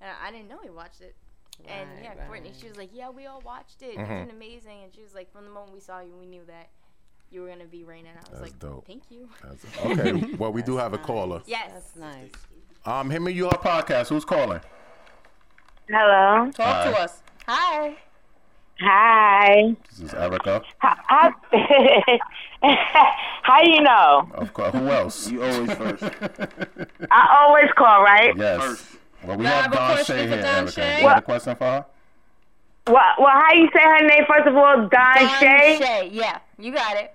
Speaker 1: and I didn't know he watched it. and
Speaker 5: Right, Mm-hmm.
Speaker 1: yeah, Courtney, she was like, yeah, we all watched it. It was amazing. And she was like, from the moment we saw you, we knew that you were gonna be Raina. And I was
Speaker 6: That's
Speaker 1: like,
Speaker 6: dope.
Speaker 1: thank you.
Speaker 6: That's- Okay. Well, we do have a caller.
Speaker 1: Yes.
Speaker 5: That's nice.
Speaker 6: Um, hit me your podcast. Who's calling?
Speaker 8: Hello.
Speaker 5: Talk to
Speaker 6: Hi.
Speaker 5: us.
Speaker 1: Hi.
Speaker 8: Hi.
Speaker 6: This is Erica.
Speaker 8: How, how you know?
Speaker 6: Of course. Who else?
Speaker 4: You always first.
Speaker 8: I always call, right?
Speaker 6: Yes. Well, we
Speaker 7: I
Speaker 6: have
Speaker 7: have a
Speaker 6: Don
Speaker 7: question
Speaker 6: Shay
Speaker 7: for
Speaker 6: here,
Speaker 7: Don
Speaker 6: Erica.
Speaker 7: Shay?
Speaker 6: You have a question for her?
Speaker 8: Well, well, how you say her name first of all? Don, Shay.
Speaker 1: Shay. Yeah, you got it.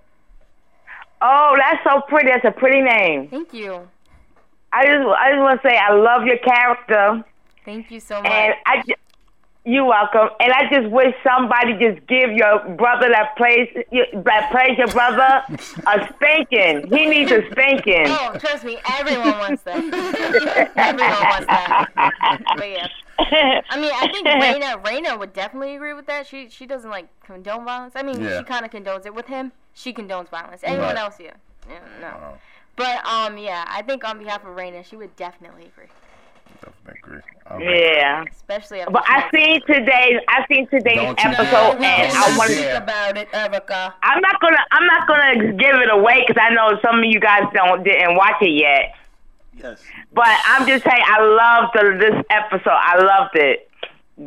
Speaker 8: Oh, that's so pretty. That's a pretty name.
Speaker 1: Thank you.
Speaker 8: I just, I just want to say I love your character,
Speaker 1: Thank you so much.
Speaker 8: and I. Just, you're welcome. And I just wish somebody just give your brother that plays your- that plays your brother a spanking. He needs a spanking.
Speaker 1: Oh, trust me, everyone wants that. everyone wants that. But yeah, I mean, I think Raina, Raina would definitely agree with that. She she doesn't like condone violence. I mean,
Speaker 6: Yeah.
Speaker 1: she kind of condones it with him. She condones violence. Anyone
Speaker 6: Right.
Speaker 1: else, yeah, yeah no. But um, yeah, I think on behalf of Raina, she would definitely agree,
Speaker 6: Definitely agree. All right.
Speaker 8: yeah.
Speaker 1: especially. after
Speaker 8: But
Speaker 1: she
Speaker 8: I
Speaker 1: had-
Speaker 8: seen today's I seen today's
Speaker 6: Don't you
Speaker 8: episode,
Speaker 6: dare.
Speaker 8: and
Speaker 6: Don't
Speaker 8: I
Speaker 6: you
Speaker 8: want
Speaker 6: dare.
Speaker 8: to.
Speaker 5: Think about it, Erica.
Speaker 8: I'm not gonna I'm not gonna give it away because I know some of you guys don't didn't watch it yet.
Speaker 4: Yes.
Speaker 8: But I'm just saying I loved the, this episode. I loved it.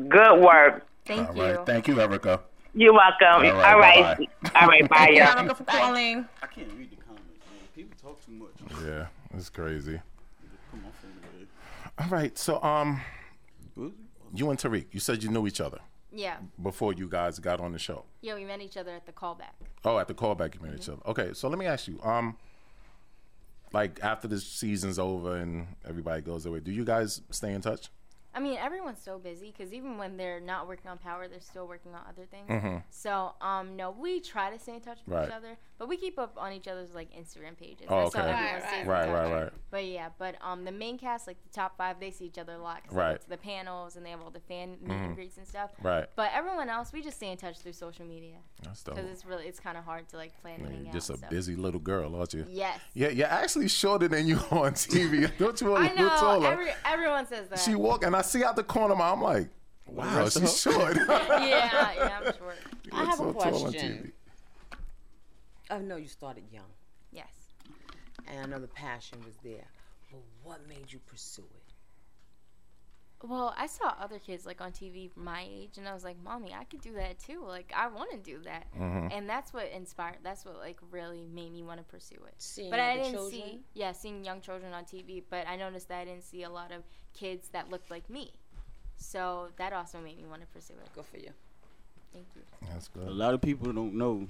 Speaker 8: Good work.
Speaker 1: Thank
Speaker 6: All
Speaker 1: you.
Speaker 6: right. Thank you, Erica.
Speaker 8: You're welcome.
Speaker 6: All right,
Speaker 8: All right,
Speaker 6: bye-bye.
Speaker 8: all right, bye, y'all.
Speaker 5: Erica for calling.
Speaker 4: I can't read the comments, man. People talk too much.
Speaker 6: Yeah, it's crazy.
Speaker 4: Come on, phone away.
Speaker 6: All right. So, um,
Speaker 4: Who is
Speaker 6: you and Tariq, you said you knew each other
Speaker 1: Yeah,
Speaker 6: before you guys got on the show.
Speaker 1: yeah, we met each other at the callback.
Speaker 6: Oh, at the callback you made each other. Okay, so let me ask you, um, like after the season's over and everybody goes away, do you guys stay in touch?
Speaker 1: I mean, everyone's so busy because even when they're not working on power, they're still working on other things. So, um, no, we try to stay in touch with
Speaker 6: Mm-hmm. Right.
Speaker 1: each other, but we keep up on each other's like Instagram pages.
Speaker 6: Oh,
Speaker 1: That's how
Speaker 6: okay.
Speaker 1: everyone
Speaker 7: Right,
Speaker 1: stays in
Speaker 6: Right,
Speaker 1: touch.
Speaker 6: right, right.
Speaker 1: But yeah, but um, the main cast, like the top five, they see each other a lot. 'cause They
Speaker 6: Right. Mm-hmm.
Speaker 1: go to the panels and they have all the fan meet and greets and stuff.
Speaker 6: Right.
Speaker 1: But everyone else, we just stay in touch through social media
Speaker 6: That's dope.
Speaker 1: because it's really it's kind of hard to like plan anything
Speaker 6: You're
Speaker 1: out.
Speaker 6: just a
Speaker 1: so.
Speaker 6: busy little girl, aren't you?
Speaker 1: Yes.
Speaker 6: Yeah, you're actually shorter than you on TV. Don't you? a
Speaker 1: I
Speaker 6: little
Speaker 1: know.
Speaker 6: taller?
Speaker 1: Every, everyone says that.
Speaker 6: she walk and I see out the corner of my. I'm like, wow,
Speaker 4: rest of
Speaker 6: she's short.
Speaker 1: yeah, yeah, I'm sure.
Speaker 5: I have a
Speaker 6: so tall on
Speaker 5: question.
Speaker 6: TV.
Speaker 5: I know you started young,
Speaker 1: Yes.
Speaker 5: and I know the passion was there, but what made you pursue it?
Speaker 1: Well, I saw other kids like on TV my age, and I was like, "Mommy, I could do that too. Like, I want to do that." And that's what inspired. That's what like really made me want to pursue it.
Speaker 5: Seeing
Speaker 1: but I
Speaker 5: other
Speaker 1: didn't see,
Speaker 5: children?
Speaker 1: yeah, seeing young children on TV. But I noticed that I didn't see a lot of kids that looked like me, so that also made me want to pursue it.
Speaker 5: Good for you.
Speaker 1: Thank you.
Speaker 6: That's
Speaker 4: A
Speaker 6: good.
Speaker 4: lot of people don't know,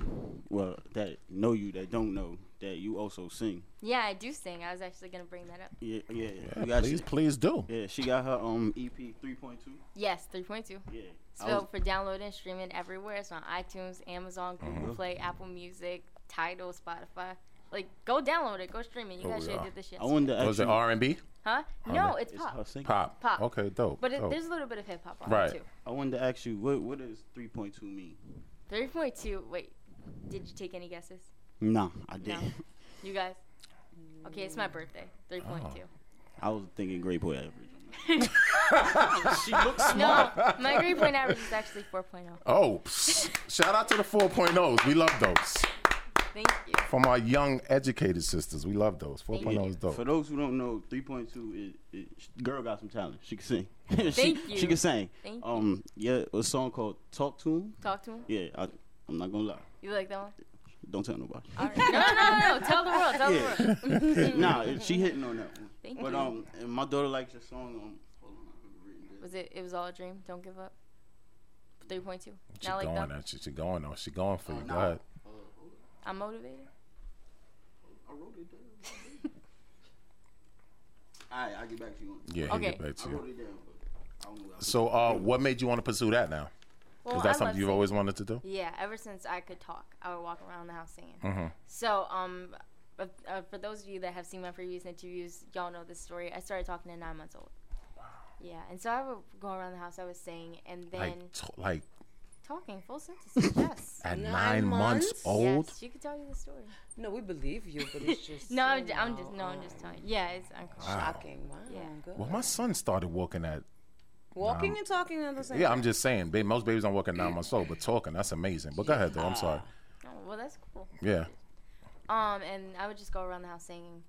Speaker 4: well, that know you that don't know that you also sing.
Speaker 1: Yeah, I do sing. I was actually gonna bring that up.
Speaker 4: Yeah, yeah.
Speaker 6: Yeah,
Speaker 4: you got
Speaker 6: please,
Speaker 4: she,
Speaker 6: please do.
Speaker 4: yeah, she got her um EP 3.2.
Speaker 1: Yes, three point two.
Speaker 4: Yeah. I was-
Speaker 1: So for downloading and
Speaker 6: Uh-huh.
Speaker 1: streaming everywhere. It's on iTunes, Amazon, Google Play, Apple Music, Tidal, Spotify. Like, go download it. Go stream it. You
Speaker 6: Oh,
Speaker 1: guys should
Speaker 6: yeah.
Speaker 1: have did this shit.
Speaker 4: I wanted to
Speaker 6: Was
Speaker 4: ask
Speaker 6: it
Speaker 4: you.
Speaker 6: R and B?
Speaker 1: Huh? No, it's pop.
Speaker 4: It's her single.
Speaker 6: Pop.
Speaker 1: Pop.
Speaker 6: Okay, dope.
Speaker 1: But it,
Speaker 6: dope.
Speaker 1: there's a little bit of hip hop on
Speaker 6: Right.
Speaker 1: it too.
Speaker 4: I wanted to ask you what what does three point two mean?
Speaker 1: Three point two. Wait, did you take any guesses?
Speaker 4: No, I didn't.
Speaker 1: You guys. Okay, it's
Speaker 4: Mm.
Speaker 1: my birthday. Three point two.
Speaker 4: I was thinking great boy average.
Speaker 1: No, my grade point average is actually 4.0.
Speaker 6: oh, psst. shout out to the 4.0s. We love those.
Speaker 1: Thank you.
Speaker 6: From our young educated sisters, we love those. 4.0 is
Speaker 4: For
Speaker 6: dope.
Speaker 4: those who don't know, three point two is, is sh- girl got some talent. She can sing. she,
Speaker 1: Thank you.
Speaker 4: She can sing.
Speaker 1: Thank you.
Speaker 4: um, yeah, a song called "Talk to Him."
Speaker 1: Talk to him.
Speaker 4: Yeah, I, I'm not gonna lie.
Speaker 1: You like that one?
Speaker 4: Don't tell nobody.
Speaker 1: All right. No, no, no, no. Tell the world. Tell the world.
Speaker 4: Yeah. nah, it- she hitting on that one.
Speaker 1: Thank
Speaker 4: but
Speaker 1: you.
Speaker 4: um, and my daughter likes your song. Um, hold on, I have it written down.
Speaker 1: Was it? It was all a dream. Don't give up. 3.2.
Speaker 6: She
Speaker 1: Not like
Speaker 6: going
Speaker 1: that.
Speaker 6: at you. She going on. She going for you. Go
Speaker 4: Oh, no.
Speaker 6: ahead.
Speaker 1: I'm motivated.
Speaker 4: I wrote it down. All right, I'll get back to you on.
Speaker 6: Yeah, he'll
Speaker 1: Okay.
Speaker 6: get back
Speaker 4: I
Speaker 6: to
Speaker 4: wrote
Speaker 6: you.
Speaker 4: it down, but I don't know.
Speaker 6: So, uh, what made you want to pursue that now?
Speaker 1: Well,
Speaker 6: Is that
Speaker 1: I love
Speaker 6: something you've
Speaker 1: singing.
Speaker 6: always wanted to do?
Speaker 1: Yeah, ever since I could talk, I would walk around the house singing.
Speaker 6: Mm-hmm.
Speaker 1: So, um, uh, uh, for those of you that have seen my previous interviews, y'all know this story. I started talking to nine months old. Yeah, and so I would go around the house, I was sing, and then
Speaker 6: Like, t- like
Speaker 1: talking full sentences. yes.
Speaker 6: at nine,
Speaker 5: Nine
Speaker 6: months,
Speaker 5: months?
Speaker 6: old?
Speaker 1: Yes, she could tell you the story.
Speaker 5: No, we believe you, but it's just
Speaker 1: No, I'm,
Speaker 5: you
Speaker 1: j- I'm
Speaker 5: know,
Speaker 1: just no, I'm
Speaker 5: um,
Speaker 1: just telling. you. Yeah, it's uncomfortable.
Speaker 6: Ah.
Speaker 5: Shocking. Wow.
Speaker 1: Yeah.
Speaker 5: Good.
Speaker 6: Well, my son started walking at.
Speaker 5: Walking and talking at the same.
Speaker 6: Yeah, I'm just saying. Ba- most babies don't walk at nine months old, but talking, that's amazing. But go ahead, though. I'm sorry.
Speaker 1: Oh, well, that's cool.
Speaker 6: Yeah.
Speaker 1: Um, and I would just go around the house singing.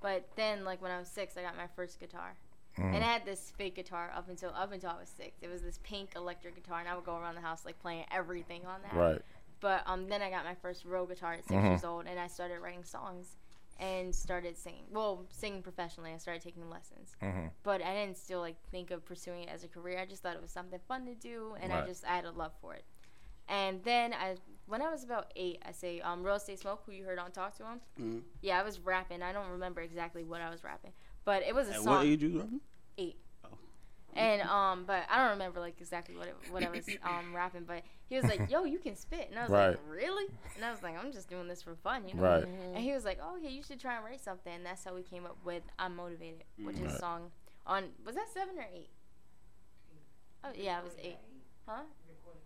Speaker 1: But then, like when I was six, I got my first guitar, and I had this fake guitar up until up until I was six. It was this pink electric guitar, and I would go around the house like playing everything on that.
Speaker 6: Right.
Speaker 1: But um, then I got my first real guitar at 6 years old, and I started writing songs and started singing. Well, singing professionally. I started taking lessons, but I didn't still like think of pursuing it as a career. I just thought it was something fun to do, and
Speaker 6: Right.
Speaker 1: I just I had a love for it. And then I, when I was about eight, I say um, real estate smoke, who you heard on Talk to Him.
Speaker 4: Mm-hmm.
Speaker 1: Yeah, I was rapping. I don't remember exactly what I was rapping, but it was a
Speaker 4: At
Speaker 1: song.
Speaker 4: what age you rapping?
Speaker 1: Eight. And um, but I don't remember like exactly what it, what I was um rapping, but he was like, "Yo, you can spit," and I was like,
Speaker 6: Right.
Speaker 1: "Really?" And I was like, "I'm just doing this for fun, you know."
Speaker 6: Right.
Speaker 1: And he was like, "Oh yeah, you should try and write something." And that's how we came up with "I'm Motivated," which is a song on was that seven or eight? Oh yeah, it was eight. Huh?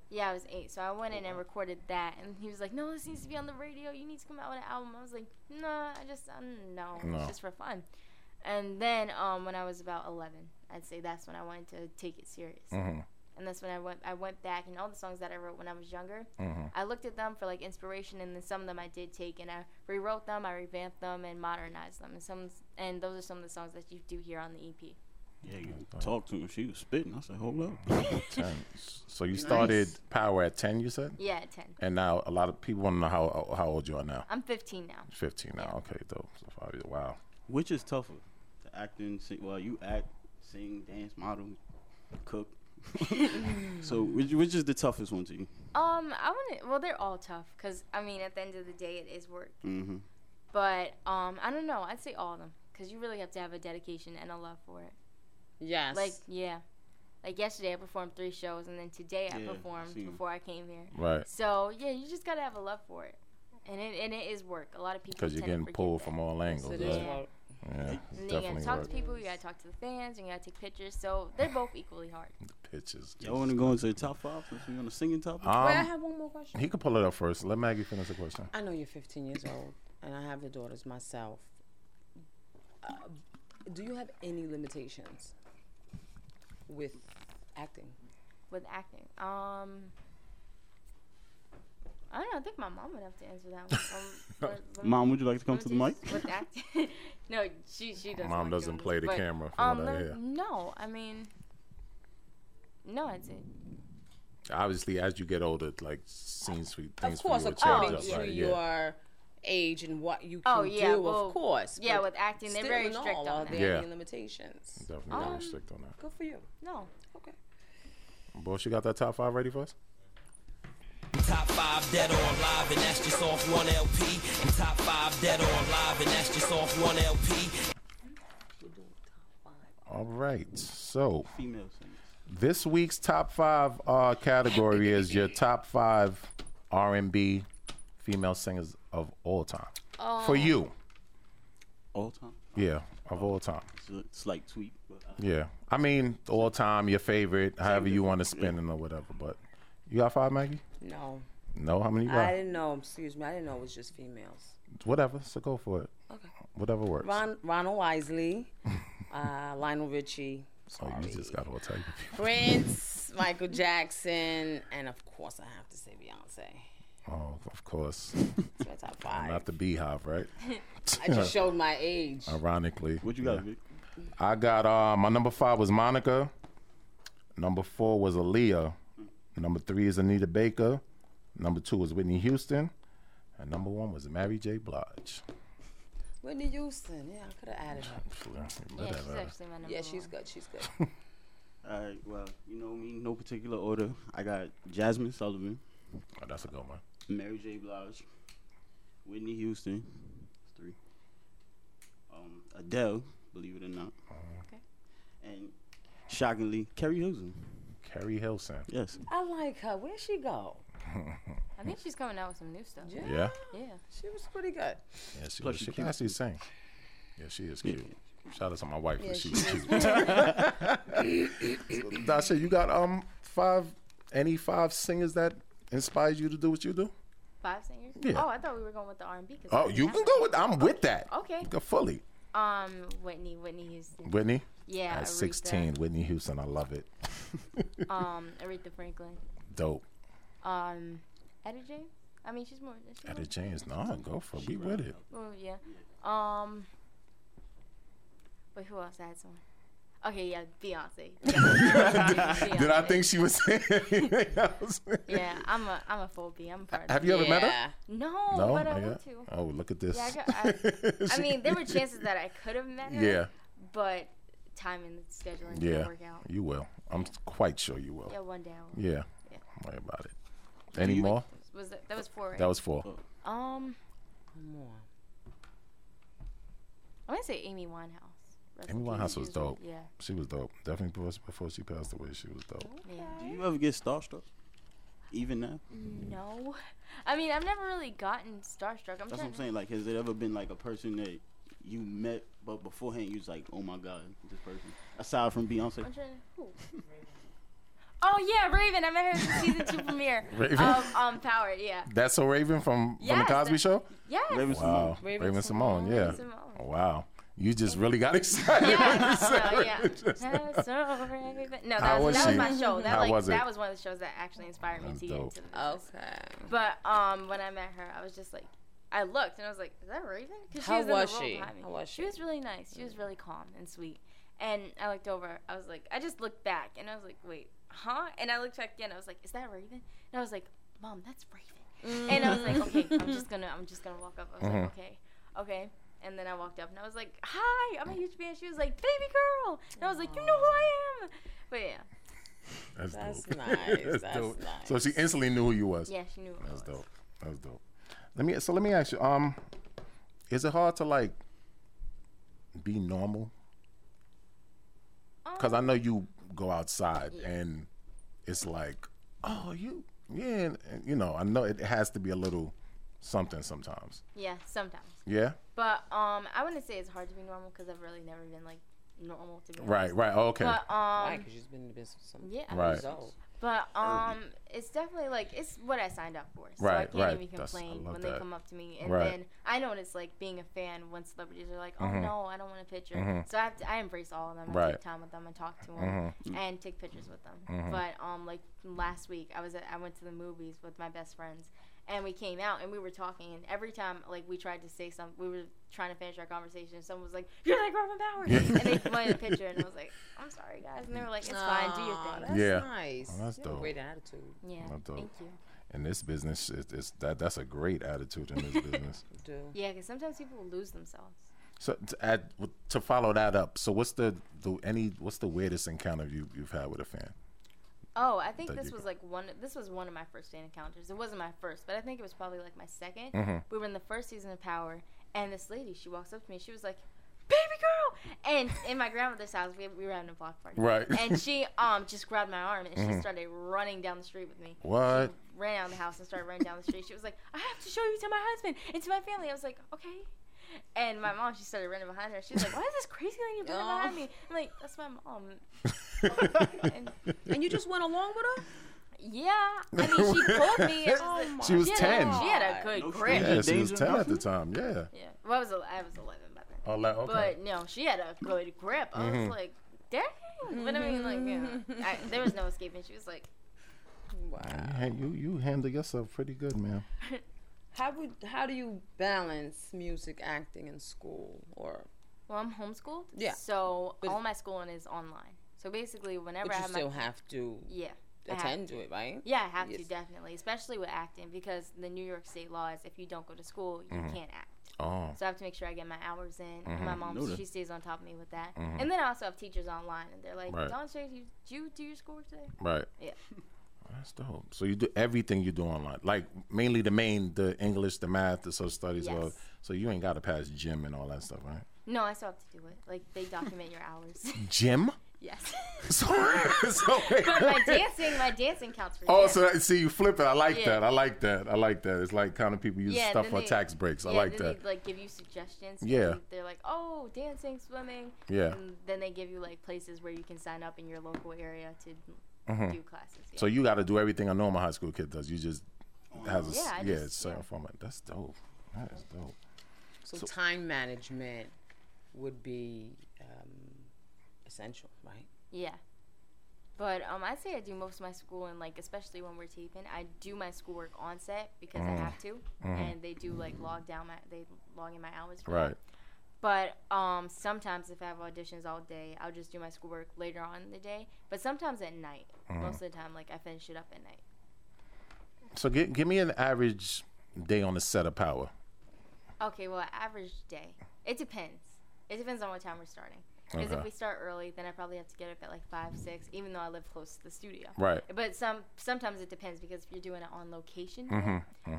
Speaker 1: Yeah, I was eight. So I went in and recorded that, and he was like, "No, this needs to be on the radio. You need to come out with an album." I was like, "No, I just um, no,
Speaker 6: No.
Speaker 1: it's just for fun." And then um, when I was about eleven, I'd say that's when I wanted to take it serious.
Speaker 6: Mm-hmm.
Speaker 1: And that's when I went. I went back and all the songs that I wrote when I was younger.
Speaker 4: Mm-hmm.
Speaker 1: I looked at them for like inspiration, and then some of them I did take and I rewrote them, I revamped them, and modernized them. And some, and those are some of the songs that you do hear on the E EP.
Speaker 4: Yeah, you talked to him. She was spitting. I said, hold up.
Speaker 6: Ten. So you started power at ten, you said,
Speaker 1: Yeah, at ten.
Speaker 6: and now a lot of people want to know how how old you are now.
Speaker 1: I'm 15 now.
Speaker 6: Fifteen now. Okay, dope. So five years. Wow.
Speaker 4: Which is tougher, to acting? Sing, well, you act, sing, dance, model, cook. so, which, which is the toughest one to you?
Speaker 1: Um, I wouldn't. Well, they're all tough because I mean, at the end of the day, it is work.
Speaker 4: Mm-hmm.
Speaker 1: But um, I don't know. I'd say all of them because you really have to have a dedication and a love for it.
Speaker 5: Yes.
Speaker 1: Like yeah, like yesterday I performed three shows and then today I
Speaker 4: Yeah, I
Speaker 1: performed
Speaker 4: seen 'em.
Speaker 1: before I came here.
Speaker 6: Right.
Speaker 1: So yeah, you just gotta have a love for it, and it and it is work. A lot of people
Speaker 6: Because you're
Speaker 1: tend to
Speaker 6: getting
Speaker 1: forget
Speaker 6: pulled
Speaker 1: that.
Speaker 6: from all angles.
Speaker 5: It
Speaker 6: right?
Speaker 5: is
Speaker 1: Yeah.
Speaker 5: what-
Speaker 6: Yeah. it's
Speaker 1: And then you
Speaker 6: definitely
Speaker 1: gotta talk
Speaker 6: work.
Speaker 1: to people, you gotta talk to the fans, and you gotta take pictures. So they're both equally hard.
Speaker 6: Pitches.
Speaker 4: Y'all want to go into the top five since we're on the singing topic?
Speaker 5: Wait, I
Speaker 6: Um,
Speaker 5: have one more question.
Speaker 6: he could pull it up first. Let Maggie finish the question.
Speaker 5: I know you're 15 years old, and I have the daughters myself. Uh, do you have any limitations with acting?
Speaker 1: with acting. Um, I don't know. I think my mom would have to answer that one. Um, for-
Speaker 4: Mom, would you like to come
Speaker 1: let
Speaker 4: to
Speaker 1: me
Speaker 4: the mic?
Speaker 1: just- With acting, no, she she doesn't.
Speaker 6: Mom
Speaker 1: like
Speaker 6: doesn't
Speaker 1: doing
Speaker 6: play
Speaker 1: this,
Speaker 6: the
Speaker 1: but,
Speaker 6: camera from
Speaker 1: Um,
Speaker 6: what I
Speaker 1: no-
Speaker 6: hear.
Speaker 1: no, I mean, no, that's it.
Speaker 6: Obviously, as you get older, like scenes for things
Speaker 5: Of course,
Speaker 6: for you will change
Speaker 5: according
Speaker 6: up,
Speaker 5: to
Speaker 6: right? Yeah.
Speaker 5: your age and what you can
Speaker 1: Oh, yeah,
Speaker 5: do,
Speaker 1: well,
Speaker 5: of course.
Speaker 1: Yeah,
Speaker 5: but
Speaker 1: with acting, they're
Speaker 5: still
Speaker 1: very
Speaker 5: in all,
Speaker 1: strict
Speaker 5: are
Speaker 1: on that.
Speaker 5: there
Speaker 6: Yeah.
Speaker 5: any limitations?
Speaker 6: Definitely gotta be strict on that.
Speaker 5: Good for you.
Speaker 1: No,
Speaker 5: Okay.
Speaker 6: Bush, you got that top five ready for us?
Speaker 2: Top five dead or alive, and that's just off one LP. And top five dead or alive, and that's just off one LP.
Speaker 6: All right. So
Speaker 4: Female singers.
Speaker 6: this week's top five uh, category is your top five R and B female singers of all time. for
Speaker 5: Oh.
Speaker 6: you.
Speaker 4: All time.
Speaker 6: Yeah, of all time.
Speaker 4: It's a slight tweak. But
Speaker 6: Yeah, I mean all time, your favorite, however you want to spin it or whatever. But you got five, Maggie?
Speaker 5: No,
Speaker 6: No, how many you
Speaker 5: I
Speaker 6: got?
Speaker 5: didn't know. Excuse me, I didn't know it was just females.
Speaker 6: Whatever. So go for it.
Speaker 5: Okay.
Speaker 6: Whatever works.
Speaker 5: Ron, Ronald Wisely, uh, Lionel Richie,
Speaker 6: so Oh, you just got all type of people.
Speaker 5: Prince, Michael Jackson, and of course I have to say Beyonce.
Speaker 6: Oh, of course.
Speaker 5: It's my top
Speaker 6: Not
Speaker 5: five.
Speaker 6: the Beehive, right?
Speaker 5: I just showed my age.
Speaker 6: Ironically.
Speaker 4: what you got, Vic?
Speaker 6: I got uh my number five was Monica. Number four was Aaliyah. Number three is Anita Baker. Number two was Whitney Houston. And number one was Mary J. Blige.
Speaker 5: Whitney Houston. Yeah, I could have added her.
Speaker 1: Yeah, she's
Speaker 6: Whatever.
Speaker 1: actually my number
Speaker 5: Yeah,
Speaker 1: one.
Speaker 5: she's good. She's good.
Speaker 4: All right. Well, you know me. No particular order. I got Jasmine Sullivan,
Speaker 6: Oh, that's a good one.
Speaker 4: Mary J. Blige, Whitney Houston, three. Um, Adele, believe it or not.
Speaker 1: Okay.
Speaker 4: And shockingly, Carrie Hilson.
Speaker 6: Carrie Hilson.
Speaker 4: Yes.
Speaker 5: I like her. Where'd she go?
Speaker 1: I think she's coming out with some new stuff. Yeah.
Speaker 6: Yeah.
Speaker 5: She was pretty good.
Speaker 6: Yeah, she,
Speaker 4: Plus
Speaker 6: was, she
Speaker 4: she's
Speaker 6: can
Speaker 4: cute.
Speaker 6: actually sing. Yeah, she is cute. Shout out to my wife.
Speaker 5: Yeah,
Speaker 6: Yeah, she,
Speaker 5: she
Speaker 6: was cute. Dasha, you got um five any five singers that inspires you to do what you do?
Speaker 1: Five singers.
Speaker 6: Yeah.
Speaker 1: Oh, I thought we were going with the R&B. 'cause
Speaker 6: Oh,
Speaker 1: I
Speaker 6: you
Speaker 1: have
Speaker 6: can go with I'm with that.
Speaker 1: Okay.
Speaker 6: Go fully.
Speaker 1: Um, Whitney, Whitney Houston.
Speaker 6: Whitney?
Speaker 1: Yeah,
Speaker 6: At
Speaker 1: Aretha.
Speaker 6: 16, Whitney Houston. I love it.
Speaker 1: Um, Aretha Franklin.
Speaker 6: Dope.
Speaker 1: Um, Etta James. I mean, she's more. Is she
Speaker 6: Etta
Speaker 1: more
Speaker 6: James. Nah, go for it. We with it.
Speaker 1: oh yeah. Um. Wait, who else had someone? Okay, yeah, Beyonce. Beyonce.
Speaker 6: Did I think she was saying anything else?
Speaker 1: Yeah, I'm a I'm a full B. I'm a part. Of
Speaker 6: Have you ever met her?
Speaker 5: Yeah.
Speaker 1: No,
Speaker 6: No,
Speaker 1: but I
Speaker 6: not
Speaker 1: want
Speaker 6: yet?
Speaker 1: to.
Speaker 6: Oh, look at this.
Speaker 1: Yeah, I got- I
Speaker 6: She-
Speaker 1: mean, there were chances that I could have met her.
Speaker 6: Yeah,
Speaker 1: But time and scheduling didn't
Speaker 6: yeah.
Speaker 1: work out.
Speaker 6: You will. I'm quite sure you will.
Speaker 1: Yeah, one day. I will.
Speaker 6: Yeah.
Speaker 1: Yeah.
Speaker 6: Don't worry about it. Any more?
Speaker 1: Was that, that was four? Right?
Speaker 6: That was four.
Speaker 1: um,
Speaker 5: One more.
Speaker 1: I'm gonna say Amy Winehouse. Rest
Speaker 6: Amy
Speaker 1: in peace.
Speaker 6: Winehouse
Speaker 1: She
Speaker 6: was dope.
Speaker 1: Yeah.
Speaker 6: She was dope. Definitely before she, before she passed away, she was dope.
Speaker 4: Do you ever get starstruck? Even now?
Speaker 1: No, I mean I've never really gotten starstruck. I'm
Speaker 4: That's what
Speaker 1: trying
Speaker 4: I'm
Speaker 1: to-
Speaker 4: saying. Like, has it ever been like a person that you met, but beforehand you was like, oh my god, this person. Aside from Beyonce,
Speaker 1: I'm trying to- who? Oh yeah, Raven. I met her at the season two premiere
Speaker 6: Raven?
Speaker 1: of um Power. Yeah.
Speaker 6: That's so Raven from, from the
Speaker 1: Yes,
Speaker 6: Cosby
Speaker 1: that-
Speaker 6: Show?
Speaker 1: Yes.
Speaker 4: Raven
Speaker 6: Wow.
Speaker 4: Simone.
Speaker 6: Raven,
Speaker 5: Raven
Speaker 6: Simone, Oh, yeah.
Speaker 1: Simone.
Speaker 6: Wow. You just really got excited.
Speaker 1: Yeah, so, yeah. That's so Raven. No, that
Speaker 6: How
Speaker 1: was,
Speaker 6: was
Speaker 1: that was
Speaker 6: she?
Speaker 1: my show. That
Speaker 6: How
Speaker 1: like
Speaker 6: was it?
Speaker 1: that was one of the shows that actually inspired me
Speaker 6: That's
Speaker 1: to get
Speaker 6: dope.
Speaker 1: into the business.
Speaker 5: Okay.
Speaker 1: But um, when I met her, I was just like, I looked and I was like, "Is that Raven?" 'Cause
Speaker 5: How
Speaker 1: in the
Speaker 5: was
Speaker 1: role
Speaker 5: she?
Speaker 1: behind me.
Speaker 5: How was
Speaker 1: She was really nice. She was really calm and sweet. And I looked over. I was like, I just looked back and I was like, wait, huh? And I looked back again. I was like, is that Raven? And I was like, Mom, that's Raven. And I was like, okay,
Speaker 5: Mm.
Speaker 1: I'm just gonna, I'm just gonna walk up. I was like, okay, okay. And then I walked up and I was like, hi, I'm a huge fan. She was like, baby girl. And I was like, you know who I am. But yeah,
Speaker 6: That's,
Speaker 5: That's
Speaker 6: dope.
Speaker 5: nice, that's
Speaker 6: So she instantly knew who you was.
Speaker 1: yeah, she knew. who I
Speaker 6: That's
Speaker 1: was.
Speaker 6: dope. That's dope. Let me so let me ask you, um, is it hard to like be normal? Cause I know you go outside and it's like, oh, you, yeah, and, and, you know, I know it has to be a little something sometimes.
Speaker 1: Yeah, sometimes.
Speaker 6: Yeah,
Speaker 1: But um, I wouldn't say it's hard to be normal because I've really never been like normal to be.
Speaker 6: right, right, oh, okay,
Speaker 1: Honest. But um,
Speaker 5: Why? Because she's been in the business for some
Speaker 1: yeah.
Speaker 6: right,
Speaker 5: years old.
Speaker 1: But um, it's definitely like it's what I signed up for, so I
Speaker 6: Right,
Speaker 1: can't
Speaker 6: right.
Speaker 1: even
Speaker 6: That's- I
Speaker 1: complain
Speaker 6: love
Speaker 1: when
Speaker 6: that.
Speaker 1: they come up to me. And
Speaker 6: Right. Mm-hmm.
Speaker 1: then I know what it's like being a fan when celebrities are like, "Oh no, I don't want a picture." So I have to, I embrace all of them. I
Speaker 6: Right. Mm-hmm.
Speaker 1: take time with them and talk to them
Speaker 6: Mm.
Speaker 1: and take pictures with them. But um, like last week, I was at, I went to the movies with my best friends. And we came out and we were talking, and every time like we tried to say something, we were trying to finish our conversation. Someone was like, "You're like Robin Bowers," and they wanted a picture, and I was like, "I'm sorry, guys," and they were like, "It's fine, do your thing."
Speaker 5: That's
Speaker 6: Yeah.
Speaker 5: nice.
Speaker 6: Oh, that's
Speaker 5: You have a
Speaker 6: dope.
Speaker 5: Great attitude.
Speaker 1: Yeah,
Speaker 6: Not dope.
Speaker 1: thank you.
Speaker 6: in this business, it's, it's that that's a great attitude in this business.
Speaker 5: You do.
Speaker 1: Yeah, because sometimes people lose themselves.
Speaker 6: So to add to follow that up, so what's the the any what's the weirdest encounter you you've had with a fan?
Speaker 1: Oh, I think
Speaker 6: That
Speaker 1: this
Speaker 6: you-
Speaker 1: was like one. This was one of my first fan encounters. It wasn't my first, but I think it was probably
Speaker 6: Mm-hmm.
Speaker 1: like my 2nd We were in the first season of Power, and this lady, she walks up to me. She was like, "Baby girl, girl. And in my grandmother's house, we, we were having a block party.
Speaker 6: Right. Mm-hmm.
Speaker 1: And she um just grabbed my arm and she started running down the street with me.
Speaker 6: What?
Speaker 1: Ran out of the house and started running down the street. She was like, I have to show you to my husband and to my family. I was like, okay. And my mom, she started running behind her. She was like, why is this crazy lady running
Speaker 5: Aw.
Speaker 6: Oh.
Speaker 1: behind me? I'm like, that's my mom. And
Speaker 5: And you just went along with her?
Speaker 1: yeah, I mean, she pulled me. oh It was the-
Speaker 6: She was
Speaker 1: she had
Speaker 6: 10.
Speaker 1: A, she had a good
Speaker 4: No
Speaker 1: grip.
Speaker 4: shit.
Speaker 6: Yeah, she was
Speaker 4: Danger.
Speaker 6: 10 at the time. Yeah.
Speaker 1: Yeah. Well, I was, el- I was 11 by then.
Speaker 6: Oh, like, okay. Mm-hmm.
Speaker 1: But no, she had a good grip. I was like, dang. But I mean, like,
Speaker 5: Mm-hmm.
Speaker 1: yeah, I, there was no escaping. She was like,
Speaker 5: Wow.
Speaker 6: Hey, you, you handle yourself pretty good, man.
Speaker 5: How would how do you balance music, acting, and school? Or
Speaker 1: "Well, I'm homeschooled.
Speaker 5: Yeah.
Speaker 1: So
Speaker 5: But-
Speaker 1: all my schooling is online. So basically, whenever
Speaker 5: but
Speaker 1: I
Speaker 5: you
Speaker 1: have my
Speaker 5: still have to
Speaker 1: yeah, I have
Speaker 5: attend to it, right?
Speaker 1: Yeah, I have to
Speaker 5: Yes.
Speaker 1: definitely, especially with acting, because the New York State law is if you don't go to school, you
Speaker 6: Mm-hmm.
Speaker 1: can't act.
Speaker 6: Oh.
Speaker 1: So I have to make sure I get my hours in. My
Speaker 6: Mm-hmm.
Speaker 1: mom,
Speaker 4: Know that.
Speaker 1: she stays on top of me with that. And then I also have teachers online, and they're like,
Speaker 6: Right.
Speaker 1: "Don't you, do you do your schoolwork today?"
Speaker 6: Right.
Speaker 1: Yeah.
Speaker 6: That's dope. So you do everything you do online, like mainly the main, the English, the math, the social studies.
Speaker 1: Yes.
Speaker 6: Well, so you ain't got to pass gym and all that stuff, right?
Speaker 1: No, I still have to do it. Like they document your hours.
Speaker 6: Gym.
Speaker 1: yes.
Speaker 6: So, so wait.
Speaker 1: but my dancing, my dancing counts for
Speaker 6: Oh,
Speaker 1: gym.
Speaker 6: so that, see, you flip it. I like
Speaker 1: Yeah.
Speaker 6: that. I like that. I like that. It's like kind of people use
Speaker 1: Yeah,
Speaker 6: stuff
Speaker 1: then
Speaker 6: for
Speaker 1: they-
Speaker 6: tax breaks. I
Speaker 1: yeah,
Speaker 6: like
Speaker 1: then
Speaker 6: that.
Speaker 1: They, like give you suggestions.
Speaker 6: Yeah.
Speaker 1: and They're like, oh, dancing, swimming.
Speaker 6: Yeah.
Speaker 1: And then they give you like places where you can sign up in your local area to do classes. Yeah.
Speaker 6: Mm-hmm. So you got to do everything a normal high school kid does. You just has a s-
Speaker 1: Oh, Yeah, I
Speaker 6: yeah,
Speaker 1: just-
Speaker 6: certain
Speaker 1: yeah.
Speaker 6: format. That's dope. That is dope.
Speaker 5: So, time management would be um, essential, right?
Speaker 1: yeah. But um, I say I do most of my school and like especially when we're taping, I do my schoolwork on set because
Speaker 6: Mm.
Speaker 1: I have to, and they do like log down my they log in my hours. For that.
Speaker 6: Mm-hmm. Right.
Speaker 1: But um, sometimes if I have auditions all day, I'll just do my schoolwork later on in the day. But sometimes at night, most of the time, like I finish it up at night.
Speaker 6: So give give me an average day on the set of Power.
Speaker 1: Okay, well, average day. It depends. It depends on what time we're starting. Because
Speaker 6: Okay.
Speaker 1: if we start early, then I probably have to get up at like five, six, even though I live close to the studio.
Speaker 6: Right.
Speaker 1: But some sometimes it depends because if you're doing it on location,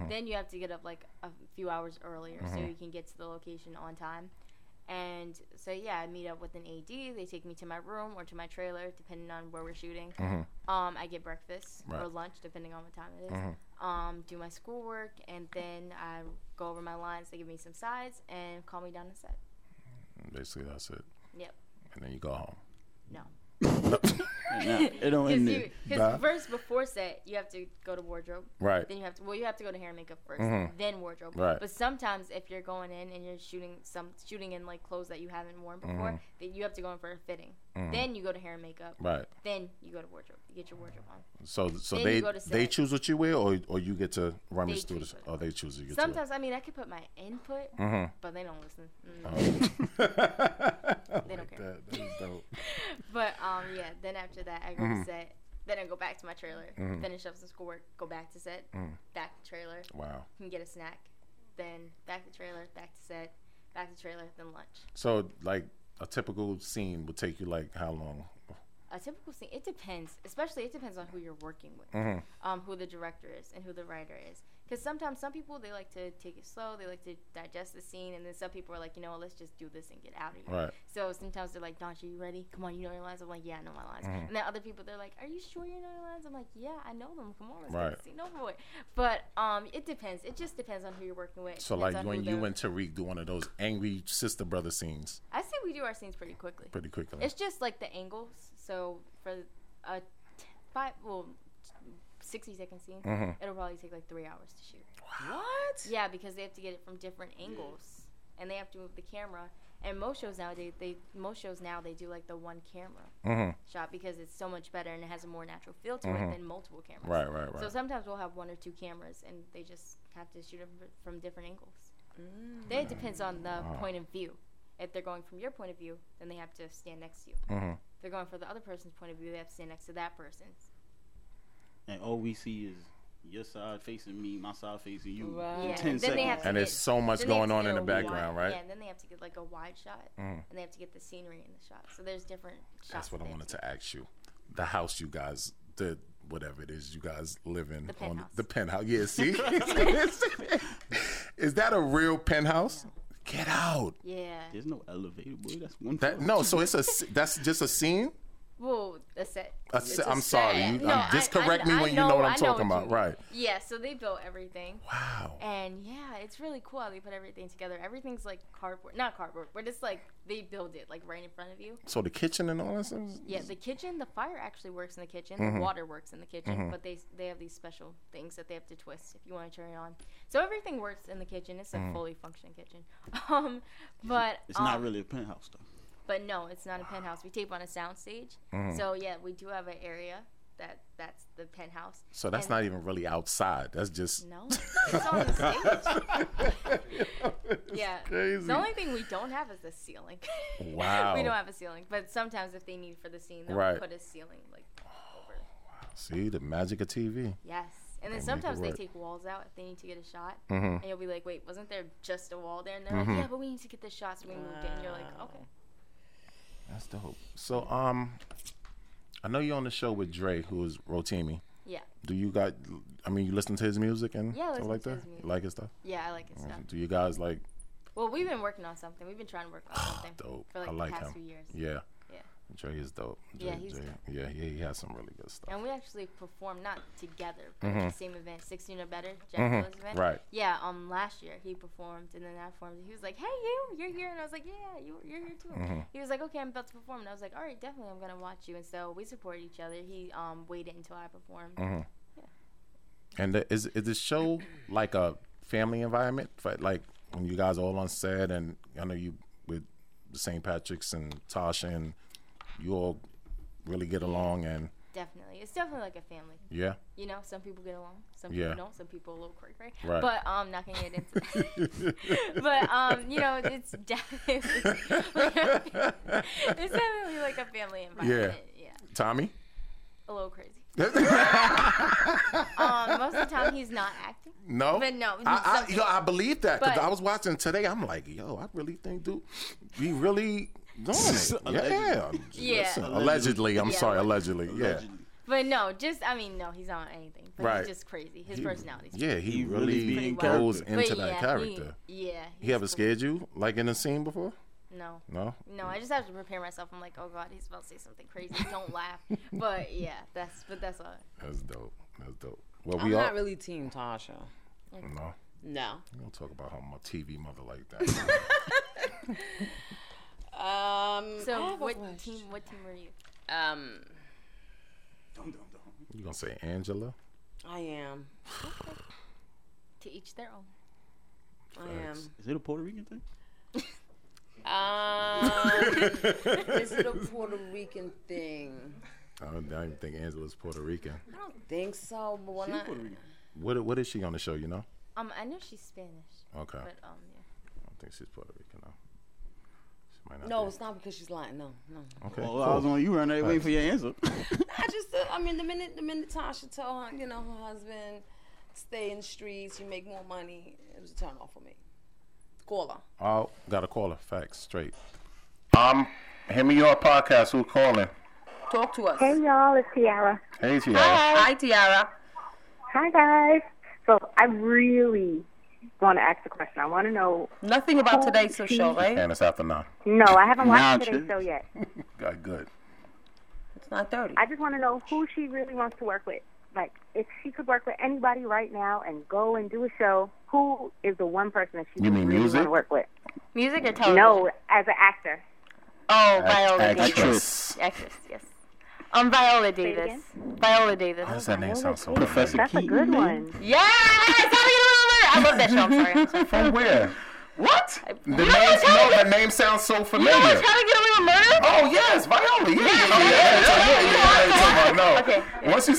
Speaker 1: then you have to get up like a few hours earlier so you can get to the location on time. And so yeah, I meet up with an AD. They take me to my room or to my trailer, depending on where we're shooting. Um, I get breakfast or
Speaker 6: Right.
Speaker 1: lunch, depending on what time it is. Um, do my schoolwork, and then I go over my lines. They give me some sides and call me down to set.
Speaker 6: Basically, that's it.
Speaker 1: Yep.
Speaker 6: And then you go home.
Speaker 1: No.
Speaker 4: Nah, it don't end there.
Speaker 6: Nah.
Speaker 1: Because first, before set, you have to go to wardrobe.
Speaker 6: Right. Mm-hmm.
Speaker 1: Then you have to well, you have to go to hair and makeup 1st then wardrobe.
Speaker 6: Right.
Speaker 1: But sometimes if you're going in and you're shooting some shooting in like clothes that you haven't worn before, then you have to go in for a fitting. Then you go to hair and makeup.
Speaker 6: Mm-hmm. Right.
Speaker 1: Then you go to wardrobe. You get your wardrobe on.
Speaker 6: So so
Speaker 1: Then
Speaker 6: they
Speaker 1: you go to
Speaker 6: they
Speaker 1: set.
Speaker 6: choose what you wear, or or you get to rummage
Speaker 1: They
Speaker 6: through
Speaker 1: choose
Speaker 6: this.
Speaker 1: what-
Speaker 6: Oh, they choose. You get Mm-hmm.
Speaker 1: Sometimes I mean I could put my input, but they don't listen. Mm.
Speaker 6: To.
Speaker 1: They don't care.
Speaker 6: That- that is dope.
Speaker 1: But um yeah, then after that I go
Speaker 6: Mm-hmm.
Speaker 1: to set. Then I go back to my trailer, finish up some schoolwork, go back to set,
Speaker 6: Mm-hmm.
Speaker 1: back to trailer,
Speaker 6: Wow.
Speaker 1: can get a snack, then back to trailer, back to set, back to trailer, then lunch.
Speaker 6: So like a typical scene would take you like how long?
Speaker 1: a typical scene it depends especially it depends on who you're working with
Speaker 6: Mm-hmm.
Speaker 1: um, who the director is and who the writer is because sometimes some people they like to take it slow they like to digest the scene and then some people are like you know what, let's just do this and get out of here
Speaker 6: Right.
Speaker 1: so sometimes they're like Donch, are you ready come on you know your lines i'm like yeah i know my lines
Speaker 6: Mm-hmm.
Speaker 1: and then other people they're like are you sure you know your lines i'm like yeah i know them come on let's
Speaker 6: Right.
Speaker 1: get the scene over with but um it depends it just depends on who you're working with It
Speaker 6: So
Speaker 1: depends
Speaker 6: like
Speaker 1: on
Speaker 6: when
Speaker 1: who
Speaker 6: you
Speaker 1: the-
Speaker 6: and Tariq do one of those angry sister brother scenes
Speaker 1: i say we do our scenes pretty quickly
Speaker 6: pretty quickly.
Speaker 1: it's just like the angles. So for a t- five, well, sixty second scene, it'll probably take like three hours to shoot.
Speaker 5: What?
Speaker 1: Yeah, because they have to get it from different angles, and they have to move the camera. And most shows nowadays, they most shows now they do like the one camera
Speaker 6: Mm-hmm.
Speaker 1: shot because it's so much better and it has a more natural feel to it than multiple cameras.
Speaker 6: Right, right, right.
Speaker 1: So sometimes we'll have one or two cameras, and they just have to shoot it fr- from different angles. Then it depends on the point of view. If they're going from your point of view, then they have to stand next to you.
Speaker 6: Mm-hmm.
Speaker 1: If they're going for the other person's point of view, they have to stand next to that person's.
Speaker 4: And all we see is your side facing me, my side facing you.
Speaker 5: Right.
Speaker 1: Yeah,
Speaker 4: In 10
Speaker 1: and then they
Speaker 4: seconds.
Speaker 1: have to
Speaker 6: and
Speaker 1: get-
Speaker 6: there's so much
Speaker 1: then they have
Speaker 6: going
Speaker 1: to
Speaker 6: on
Speaker 1: get
Speaker 6: in the
Speaker 1: a
Speaker 6: background,
Speaker 1: wide-
Speaker 6: right? Mm.
Speaker 1: Yeah, and then they have to get like a wide shot, and they have to get the scenery in the shot. So there's different shots.
Speaker 6: That's what
Speaker 1: that
Speaker 6: I
Speaker 1: they have
Speaker 6: wanted
Speaker 1: to
Speaker 6: to ask you. The house you guys, the whatever it is you guys live in
Speaker 1: The
Speaker 6: on
Speaker 1: penthouse.
Speaker 6: the penthouse. Yeah, see, is that a real penthouse? Get out.
Speaker 1: Yeah.
Speaker 4: There's no elevator, boy. That's one.
Speaker 6: That
Speaker 4: floor.
Speaker 6: no. So it's a. s- That's just a scene.
Speaker 1: Well, that's it.
Speaker 6: A
Speaker 1: It's
Speaker 6: se-
Speaker 1: a
Speaker 6: I'm sorry.
Speaker 1: set.
Speaker 6: You,
Speaker 1: No,
Speaker 6: um, just
Speaker 1: I- I-
Speaker 6: correct me
Speaker 1: I
Speaker 6: when you know what I'm
Speaker 1: I
Speaker 6: talking
Speaker 1: you
Speaker 6: about.
Speaker 1: mean.
Speaker 6: Right.
Speaker 1: Yeah, so they built everything.
Speaker 6: Wow.
Speaker 1: And yeah, it's really cool how they put everything together. Everything's like cardboard, not cardboard, but it's like they build it like right in front of you.
Speaker 6: So the kitchen and all that stuff. is-
Speaker 1: Yeah, the kitchen, the fire actually works in the kitchen. The water works in the kitchen, but they they have these special things that they have to twist if you want to turn it on. So everything works in the kitchen. It's a fully functioning kitchen. Um, but
Speaker 4: It's not
Speaker 1: um,
Speaker 4: really a penthouse though.
Speaker 1: But no, it's not a penthouse. We tape on a soundstage. So yeah, we do have an area that that's the penthouse.
Speaker 6: So that's
Speaker 1: And-
Speaker 6: not even really outside. That's just.
Speaker 1: No, it's on the stage. yeah.
Speaker 6: crazy.
Speaker 1: The only thing we don't have is the ceiling.
Speaker 6: Wow.
Speaker 1: we don't have a ceiling, but sometimes if they need for the scene, they'll
Speaker 6: Right.
Speaker 1: put a ceiling like over.
Speaker 6: See the magic of TV.
Speaker 1: Yes. And then
Speaker 6: They make it
Speaker 1: sometimes they
Speaker 6: work. Mm-hmm.
Speaker 1: take walls out if they need to get a shot. And you'll be like, wait, wasn't there just a wall there? And they're like, yeah, but we need to get the shots. So we moved it. And you're like, okay.
Speaker 6: That's dope. So um, I know you're on the show with Dre, who is Rotimi.
Speaker 1: Yeah.
Speaker 6: Do you got? I mean, you listen to his music and
Speaker 1: Yeah, I
Speaker 6: stuff
Speaker 1: listen
Speaker 6: like
Speaker 1: to
Speaker 6: that.
Speaker 1: his music.
Speaker 6: You like his stuff.
Speaker 1: Yeah, I like his stuff.
Speaker 6: Do you guys like
Speaker 1: Well, we've been working on something. We've been trying to work on something
Speaker 6: dope?
Speaker 1: for like,
Speaker 6: I like
Speaker 1: the past
Speaker 6: him.
Speaker 1: few years.
Speaker 6: Yeah.
Speaker 1: Yeah.
Speaker 6: Dre is dope. Dre,
Speaker 1: Yeah, he's
Speaker 6: Dre-
Speaker 1: dope.
Speaker 6: yeah, yeah, he has some really good stuff.
Speaker 1: And we actually performed not together, but at the same event, 16 or better, Jack Willis event.
Speaker 6: Mm-hmm. Right.
Speaker 1: Yeah. Um, last year he performed, and then I performed. He was like, "Hey, you, you're here," and I was like, "Yeah, you, you're here too."
Speaker 6: Mm-hmm.
Speaker 1: He was like, "Okay, I'm about to perform," and I was like, "All right, definitely, I'm gonna watch you." And so we support each other. He um waited until I performed.
Speaker 6: Mm-hmm. And the, is is the show like a family environment? For, like when you guys all on set, and I know you with St. Patrick's and Tasha, and you all really get along, and
Speaker 1: Definitely, it's definitely like a family.
Speaker 6: yeah.
Speaker 1: You know, some people get along, some
Speaker 6: Yeah.
Speaker 1: people don't, some people a little quirky, right?
Speaker 6: Right.
Speaker 1: But um, not gonna get into. but um, you know, it's definitely it's definitely like a family environment. Yeah,
Speaker 6: Tommy.
Speaker 1: a little crazy. um, most of the time he's not acting.
Speaker 6: No,
Speaker 1: But no,
Speaker 6: I, I,
Speaker 1: something-
Speaker 6: yo, I believe that because
Speaker 1: But-
Speaker 6: I was watching today. I'm like, yo, I really think, dude, we really doing it. yeah,
Speaker 4: Allegedly.
Speaker 1: Yeah.
Speaker 6: Listen, allegedly. I'm
Speaker 1: Yeah.
Speaker 6: sorry, allegedly.
Speaker 4: Allegedly.
Speaker 1: But no, just I mean, no, he's not on anything. But
Speaker 6: Right.
Speaker 1: he's just crazy. His
Speaker 6: Yeah,
Speaker 1: personality's
Speaker 6: yeah, he,
Speaker 4: He really
Speaker 6: really,
Speaker 4: be in
Speaker 6: goes
Speaker 4: character.
Speaker 6: into
Speaker 1: But
Speaker 6: that
Speaker 1: yeah,
Speaker 6: character.
Speaker 1: He, yeah.
Speaker 6: He,
Speaker 1: he's
Speaker 6: ever
Speaker 1: cool.
Speaker 6: scared you like in a scene before?
Speaker 1: No.
Speaker 6: No.
Speaker 1: No, I just have to prepare myself. I'm like, oh god, he's about to say something crazy. Don't laugh. But yeah, that's but that's all.
Speaker 6: That's dope. That's dope. Well,
Speaker 5: I'm
Speaker 6: we all
Speaker 5: not really Team Tasha.
Speaker 6: no.
Speaker 5: No.
Speaker 6: We don't talk about how my TV mother like that.
Speaker 5: Um.
Speaker 1: So
Speaker 5: I have a
Speaker 1: what
Speaker 5: question.
Speaker 1: team? What team were you?
Speaker 5: Um.
Speaker 4: Dum, dum, dum.
Speaker 6: you gonna say Angela?
Speaker 5: I am.
Speaker 1: To each their own.
Speaker 5: I
Speaker 4: Is it a Puerto Rican thing?
Speaker 5: am. Um. is it a Puerto Rican thing?
Speaker 6: I don't, I don't even think Angela's Puerto Rican.
Speaker 5: I don't think so. But when I
Speaker 4: Puerto Rican.
Speaker 6: What What is she on the show? You know?
Speaker 1: Um, I know she's Spanish,
Speaker 6: Okay.
Speaker 1: but um, yeah.
Speaker 6: I don't think she's Puerto Rican though. She might not.
Speaker 5: no,
Speaker 6: be.
Speaker 5: it's not because she's lying. No, no.
Speaker 6: Okay.
Speaker 4: Oh, I was on you right there waiting for your answer.
Speaker 5: I just, uh, I mean, the minute the minute Tasha told her, you know, her husband stay in the streets, you make more money, it was a turn off for me. Call her.
Speaker 6: Oh, got a caller. Facts straight. Um, hit me your podcast. Who calling?
Speaker 5: Talk to us.
Speaker 7: Hey y'all, it's Tiara.
Speaker 6: Hey, Tiara.
Speaker 5: Hi, Tiara.
Speaker 7: Hi guys. So I really want to ask a question. I want to know.
Speaker 5: Nothing about today's show, right?
Speaker 6: And it's after nine.
Speaker 7: No, I haven't watched
Speaker 4: Nah,
Speaker 7: today's show
Speaker 4: chill.
Speaker 7: yet.
Speaker 6: Got good.
Speaker 5: It's not thirty.
Speaker 7: I just want to know who she really wants to work with. Like, if she could work with anybody right now and go and do a show, who is the one person that she
Speaker 6: You
Speaker 7: would
Speaker 6: mean
Speaker 7: really
Speaker 6: music?
Speaker 7: want to work with?
Speaker 1: Music or
Speaker 7: No, as an actor.
Speaker 1: Oh,
Speaker 6: Actress.
Speaker 1: Actress, yes. Um, Viola Davis.
Speaker 7: again?
Speaker 1: Viola Davis.
Speaker 6: Does that name sound so
Speaker 4: Professor
Speaker 7: That's a
Speaker 4: Keaton,
Speaker 7: good
Speaker 4: man.
Speaker 7: one.
Speaker 1: Yes! I love that show. I'm sorry. I'm sorry.
Speaker 6: From where? What? The name,
Speaker 1: always tell
Speaker 6: no, the name sounds so familiar.
Speaker 1: How Oh, to get away with murder?
Speaker 6: Oh yes, Viola. Yeah, yeah, yeah. yeah, yeah, yeah, yeah, yeah, yeah, yeah, yeah, yeah, yeah. No. Once you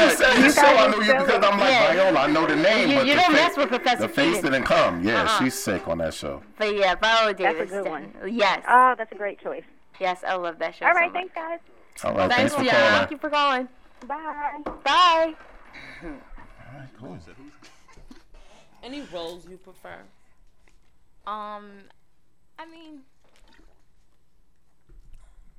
Speaker 6: said, once you said the show, I knew you because I'm like Viola. I know the name, but
Speaker 1: you
Speaker 6: the
Speaker 1: don't
Speaker 6: face,
Speaker 1: mess with Professor
Speaker 6: the Uh-huh. face
Speaker 1: Keaton.
Speaker 6: didn't come. Yeah, she's sick on that show.
Speaker 1: But yeah, Viola
Speaker 7: That's a
Speaker 1: Davis.
Speaker 7: good one.
Speaker 1: definitely. Yes.
Speaker 7: Oh, that's a great choice.
Speaker 1: yes, I love that show.
Speaker 7: All
Speaker 1: so
Speaker 7: right,
Speaker 1: much.
Speaker 7: thanks guys.
Speaker 6: All right, thanks, for
Speaker 1: Tiara.
Speaker 6: calling.
Speaker 1: Thank you for calling.
Speaker 7: Bye.
Speaker 1: Bye.
Speaker 5: Any roles you prefer?
Speaker 1: Um, I mean,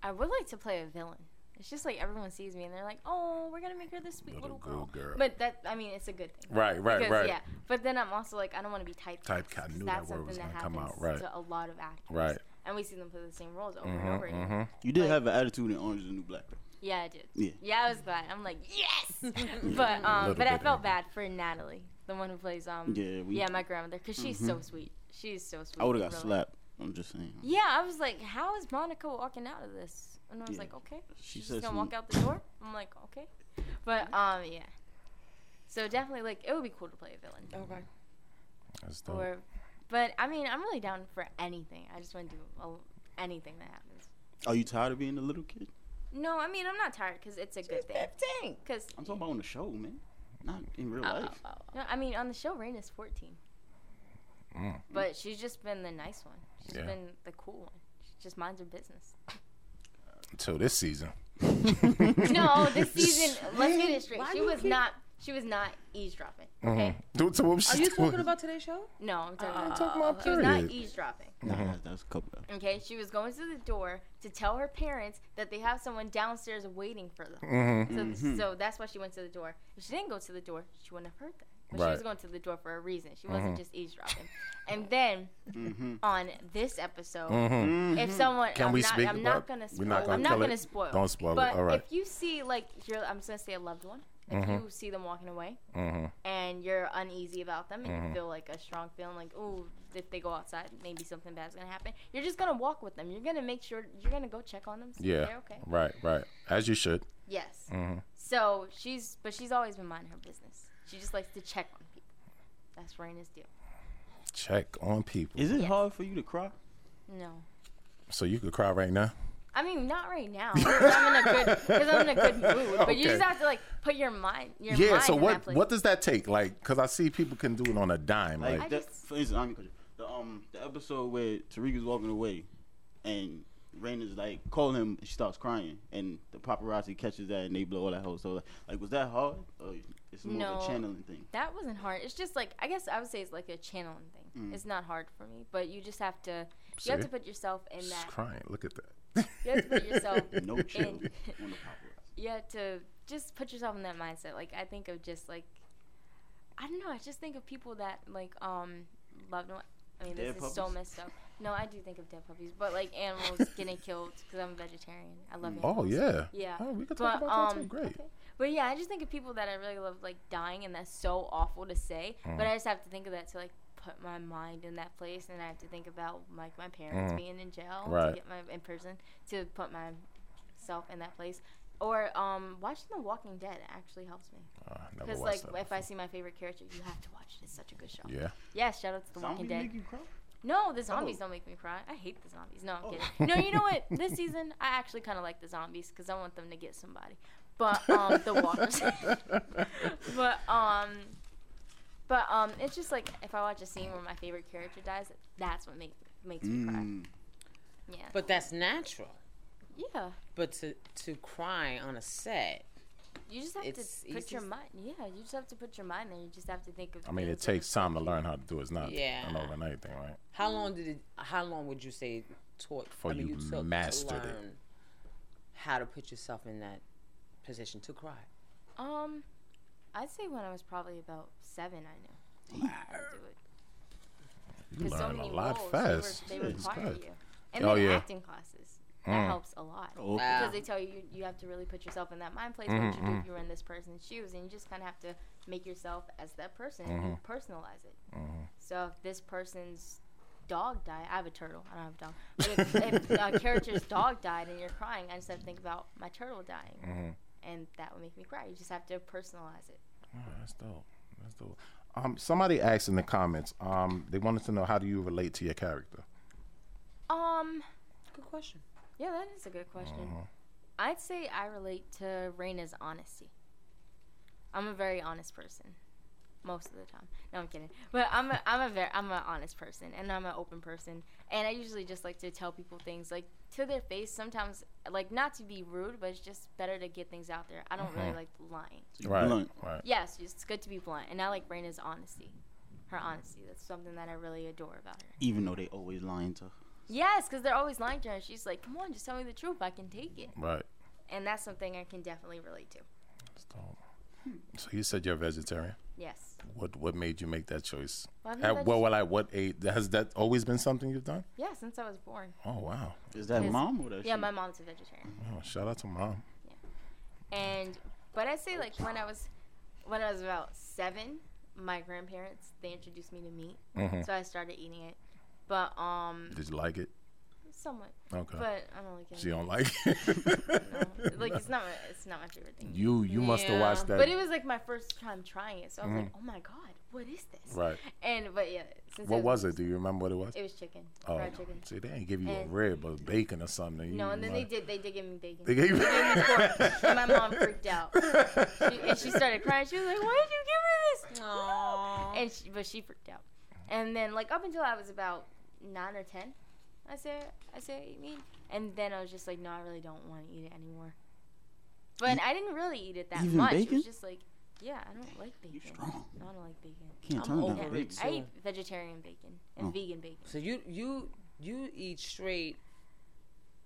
Speaker 1: I would like to play a villain It's just like everyone sees me and they're like, "Oh, we're gonna make her this sweet little, girl.
Speaker 6: girl, girl.
Speaker 1: But that, I mean, it's a good thing.
Speaker 6: Right, right,
Speaker 1: Because,
Speaker 6: right.
Speaker 1: Yeah, but then I'm also like, I don't want to be typecast.
Speaker 6: Typecast. I
Speaker 1: 'cause
Speaker 6: knew
Speaker 1: that's
Speaker 6: that word was
Speaker 1: something
Speaker 6: gonna come out.
Speaker 1: happens
Speaker 6: Right.
Speaker 1: To a lot of actors.
Speaker 6: Right.
Speaker 1: And we see them play the same roles over and over
Speaker 6: Mhm,
Speaker 1: again.
Speaker 6: mhm.
Speaker 4: You did have an attitude in Orange is the New Black. though.
Speaker 1: Yeah, I did.
Speaker 4: Yeah.
Speaker 1: Yeah, I was glad. I'm like, yes. but um,
Speaker 6: Little
Speaker 1: but I
Speaker 6: bit
Speaker 1: felt
Speaker 6: angry.
Speaker 1: bad for Natalie, the one who plays um.
Speaker 4: Yeah, we- Mm-hmm.
Speaker 1: yeah, my grandmother, because she's so sweet. She's so sweet.
Speaker 4: I would have got
Speaker 1: really.
Speaker 4: slapped. I'm just saying.
Speaker 1: Yeah, I was like, how is Monica walking out of this? And I was
Speaker 4: Yeah.
Speaker 1: like, okay,
Speaker 4: She
Speaker 1: she's
Speaker 4: said
Speaker 1: just gonna
Speaker 4: some-
Speaker 1: walk out the door. I'm like, okay, but um, yeah. So definitely, like, it would be cool to play a villain.
Speaker 5: Okay.
Speaker 6: That's dope.
Speaker 1: Or, but I mean, I'm really down for anything. I just want to do a, anything that happens.
Speaker 4: Are you tired of being a little kid?
Speaker 1: No, I mean, I'm not tired because it's a good thing.
Speaker 5: Fifteen.
Speaker 1: Because
Speaker 4: I'm talking about on the show, man. Not in real
Speaker 5: Oh,
Speaker 4: life.
Speaker 5: oh, oh.
Speaker 1: No, I mean on the show Raina's fourteen.
Speaker 6: Mm.
Speaker 1: But she's just been the nice one. She's
Speaker 6: Yeah.
Speaker 1: been the cool one. She just minds her business.
Speaker 6: Until this season.
Speaker 1: no, this season, let's get it straight.
Speaker 5: Why
Speaker 1: She
Speaker 5: do you
Speaker 1: was
Speaker 5: keep-
Speaker 1: not she was not eavesdropping.
Speaker 6: Mhm. Do- so what
Speaker 5: Are
Speaker 6: she's
Speaker 5: you
Speaker 6: doing.
Speaker 5: talking about today's show?
Speaker 1: No, I'm talking
Speaker 5: Uh,
Speaker 6: I'm
Speaker 1: about
Speaker 6: talking about
Speaker 1: she was not
Speaker 6: period.
Speaker 1: eavesdropping.
Speaker 4: Nah, that's, that's a couple. Of
Speaker 1: Okay, she was going to the door to tell her parents that they have someone downstairs waiting for them.
Speaker 6: Mhm.
Speaker 1: So, so that's why she went to the door. If she didn't go to the door, she wouldn't have heard that. But she was
Speaker 6: Right.
Speaker 1: going to the door for a reason. She wasn't just eavesdropping. And then on this episode,
Speaker 6: Mhm.
Speaker 1: if someone
Speaker 6: Mm-hmm. Can
Speaker 1: I'm
Speaker 6: we
Speaker 1: not,
Speaker 6: speak
Speaker 1: I'm
Speaker 6: about-
Speaker 1: not gonna spoil
Speaker 6: we're not gonna
Speaker 1: I'm not
Speaker 6: tell it?
Speaker 1: gonna spoil
Speaker 6: Don't spoil it.
Speaker 1: but
Speaker 6: All right.
Speaker 1: if you see like your I'm just gonna say a loved one if you see them walking away
Speaker 6: Mhm.
Speaker 1: and you're uneasy about them and
Speaker 6: Mm-hmm.
Speaker 1: you feel like a strong feeling like ooh if they go outside maybe something bad's gonna happen you're just gonna walk with them you're gonna make sure you're gonna go check on them see if
Speaker 6: Yeah. Mm-hmm.
Speaker 1: they're okay
Speaker 6: Right, right. As you should.
Speaker 1: yes so she's but she's always been minding her business she just likes to check on people that's Raina's deal
Speaker 6: Check on people.
Speaker 4: Is it
Speaker 1: Yes.
Speaker 4: hard for you to cry?
Speaker 1: no
Speaker 6: So you could cry right now.
Speaker 1: I mean, not right now. 'cause I'm in a good, because I'm in a good mood. But you
Speaker 6: Okay.
Speaker 1: just have to like put your mind, your
Speaker 6: yeah.
Speaker 1: mind
Speaker 6: So
Speaker 1: in that
Speaker 6: what
Speaker 1: place.
Speaker 6: what does that take? Like, because I see people can do it on a dime. Like,
Speaker 4: Like
Speaker 1: I
Speaker 4: that,
Speaker 1: just-
Speaker 4: for instance, I mean, the um the episode where Tariq is walking away, and Raina's like call him, and she starts crying, and the paparazzi catches that, and they blow all that whole. So like, like was that hard? Or it's more of
Speaker 1: No.
Speaker 4: a channeling thing.
Speaker 1: that wasn't hard. It's just like I guess I would say it's like a channeling
Speaker 4: Mm.
Speaker 1: thing. It's not hard for me, but you just have to, you have
Speaker 6: See?
Speaker 1: to put yourself in
Speaker 6: she's
Speaker 1: that.
Speaker 6: crying. Look at that.
Speaker 1: You have to put yourself.
Speaker 4: No chill on
Speaker 1: in,
Speaker 4: the paparazzi.
Speaker 1: you have to just put yourself in that mindset. Like I think of just like, I don't know. I just think of people that like um loved one. I mean, this
Speaker 4: Dead
Speaker 1: is so
Speaker 4: puppies?
Speaker 1: messed up. No, I do think of dead puppies, but like animals getting killed because I'm a vegetarian. I love
Speaker 4: Mm.
Speaker 1: animals.
Speaker 6: Oh yeah.
Speaker 1: Yeah.
Speaker 6: Oh, we could
Speaker 1: But,
Speaker 6: talk about that
Speaker 1: um,
Speaker 6: too. Great.
Speaker 1: okay. But yeah, I just think of people that I really love, like dying, and that's so awful to say.
Speaker 6: Mm.
Speaker 1: But I just have to think of that to like put my mind in that place, and I have to think about like my parents being in jail to
Speaker 6: Mm. Right.
Speaker 1: get my in prison to put myself in that place. Or um, watching The Walking Dead actually helps me
Speaker 6: Uh, never
Speaker 1: because like
Speaker 6: watched
Speaker 1: if I see my favorite character, you have to watch it. It's such a good show.
Speaker 6: that. Yeah.
Speaker 1: Yes, shout out to The Walking
Speaker 4: Zombies
Speaker 1: Dead.
Speaker 4: make you cry?
Speaker 1: No, the zombies
Speaker 4: Oh.
Speaker 1: don't make me cry. I hate the zombies. No, I'm kidding. No, you know what? This season, I actually kind of like the zombies because I want them to get somebody. But um, the walkers. but um, but um, it's just like if I watch a scene where my favorite character dies, that's what make, makes me cry.
Speaker 4: Mm.
Speaker 1: Yeah.
Speaker 5: But that's natural.
Speaker 1: yeah,
Speaker 5: But to to cry on a set,
Speaker 1: you just have
Speaker 5: It's
Speaker 1: to put
Speaker 5: easy
Speaker 1: your
Speaker 5: s-
Speaker 1: mind. Yeah, you just have to put your mind there. You just have to think of.
Speaker 6: I mean, it
Speaker 1: things that are
Speaker 6: takes time to learn how to do it. It's not
Speaker 5: Yeah.
Speaker 6: an overnight thing, right?
Speaker 5: how long did it? How long would you say it taught?
Speaker 6: Before you mastered it.
Speaker 5: how to put yourself in that position to cry.
Speaker 1: Um, I'd say when I was probably about seven, I knew. I could do it.
Speaker 6: You
Speaker 1: 'Cause so
Speaker 6: learn a
Speaker 1: many
Speaker 6: lot
Speaker 1: roles,
Speaker 6: fast.
Speaker 1: They, were, they
Speaker 6: Jesus
Speaker 1: require
Speaker 6: Christ.
Speaker 1: you. And
Speaker 6: Oh,
Speaker 1: then
Speaker 6: yeah. Mm.
Speaker 1: acting classes. That helps a lot.
Speaker 4: Oh, okay.
Speaker 5: Wow.
Speaker 1: Because they tell you, you you have to really put yourself in that mind place. What would you do
Speaker 6: Mm-hmm.
Speaker 1: if you were in this person's shoes? And you just kind of have to make yourself as that person and
Speaker 6: Mm-hmm.
Speaker 1: you personalize it. So if this person's dog died, I have a turtle. I don't have a dog. But if, if a character's dog died and you're crying, I just have to think about my turtle dying.
Speaker 6: Mm-hmm.
Speaker 1: And that would make me cry. You just have to personalize it.
Speaker 6: Oh, that's dope. That's dope. Um, somebody asked in the comments. Um, they wanted to know how do you relate to your character.
Speaker 1: Um,
Speaker 5: Good question.
Speaker 1: Yeah, that is a good question. I'd say I relate to Raina's honesty. I'm a very honest person, most of the time. No, I'm kidding. But I'm a I'm a very I'm an honest person, and I'm an open person, and I usually just like to tell people things like to their face. Sometimes, like not to be rude, but it's just better to get things out there. I don't really like lying.
Speaker 6: Right.
Speaker 4: Blunt.
Speaker 6: Right.
Speaker 1: Yes, it's good to be blunt, and I like Raina's honesty. Her honesty. That's something that I really adore about her.
Speaker 4: Even though they always lying to her.
Speaker 1: Yes, because they're always lying to her. and She's like, "Come on, just tell me the truth. I can take it."
Speaker 6: Right.
Speaker 1: and that's something I can definitely relate to.
Speaker 6: So you said you're a vegetarian.
Speaker 1: Yes.
Speaker 6: What what made you make that choice?
Speaker 1: Well, I've been
Speaker 6: At what Uh, well, at what age has that always been something you've done?
Speaker 1: Yeah, since I was born.
Speaker 6: Oh wow!
Speaker 4: Is that mom or
Speaker 1: yeah,
Speaker 4: that?
Speaker 1: my mom's a vegetarian.
Speaker 6: Oh, shout out to mom.
Speaker 1: And but I say like when I was when I was about seven, my grandparents they introduced me to meat,
Speaker 6: Mhm.
Speaker 1: so I started eating it. But um,
Speaker 6: Did you like it?
Speaker 1: somewhat.
Speaker 6: Okay.
Speaker 1: But I don't like it.
Speaker 6: She don't like it.
Speaker 1: No. like it's not my- it's not my favorite thing.
Speaker 6: you you must have
Speaker 5: Yeah.
Speaker 6: watched that.
Speaker 1: But it was like my first time trying it, so I was like, oh my god, what is this?
Speaker 6: Mm-hmm. right.
Speaker 1: And but yeah, since
Speaker 6: What was it? Do you remember what it was?
Speaker 1: It was chicken,
Speaker 6: oh,
Speaker 1: fried chicken.
Speaker 6: see, they didn't give you a
Speaker 1: And-
Speaker 6: rib or bacon or something.
Speaker 1: No,
Speaker 6: You
Speaker 1: and then they
Speaker 6: like-
Speaker 1: did. They did give me bacon.
Speaker 6: They gave you.
Speaker 1: and my mom freaked out. She, and she started crying. She was like, "Why did you give her this?"
Speaker 5: Aw.
Speaker 1: And she, but she freaked out. And then like up until I was about nine or ten, I said, I said eat meat. And then I was just like, no, I really don't want to eat it anymore. But I didn't really eat it that
Speaker 4: even
Speaker 1: much. It
Speaker 4: bacon?
Speaker 1: was just like, yeah, I don't like bacon.
Speaker 4: strong.
Speaker 1: I don't like bacon.
Speaker 4: Can't
Speaker 5: I'm
Speaker 4: turn down
Speaker 5: over
Speaker 4: bacon.
Speaker 5: it.
Speaker 1: I
Speaker 5: So-
Speaker 1: eat vegetarian bacon and
Speaker 4: Oh.
Speaker 1: vegan bacon.
Speaker 5: So you you you eat straight,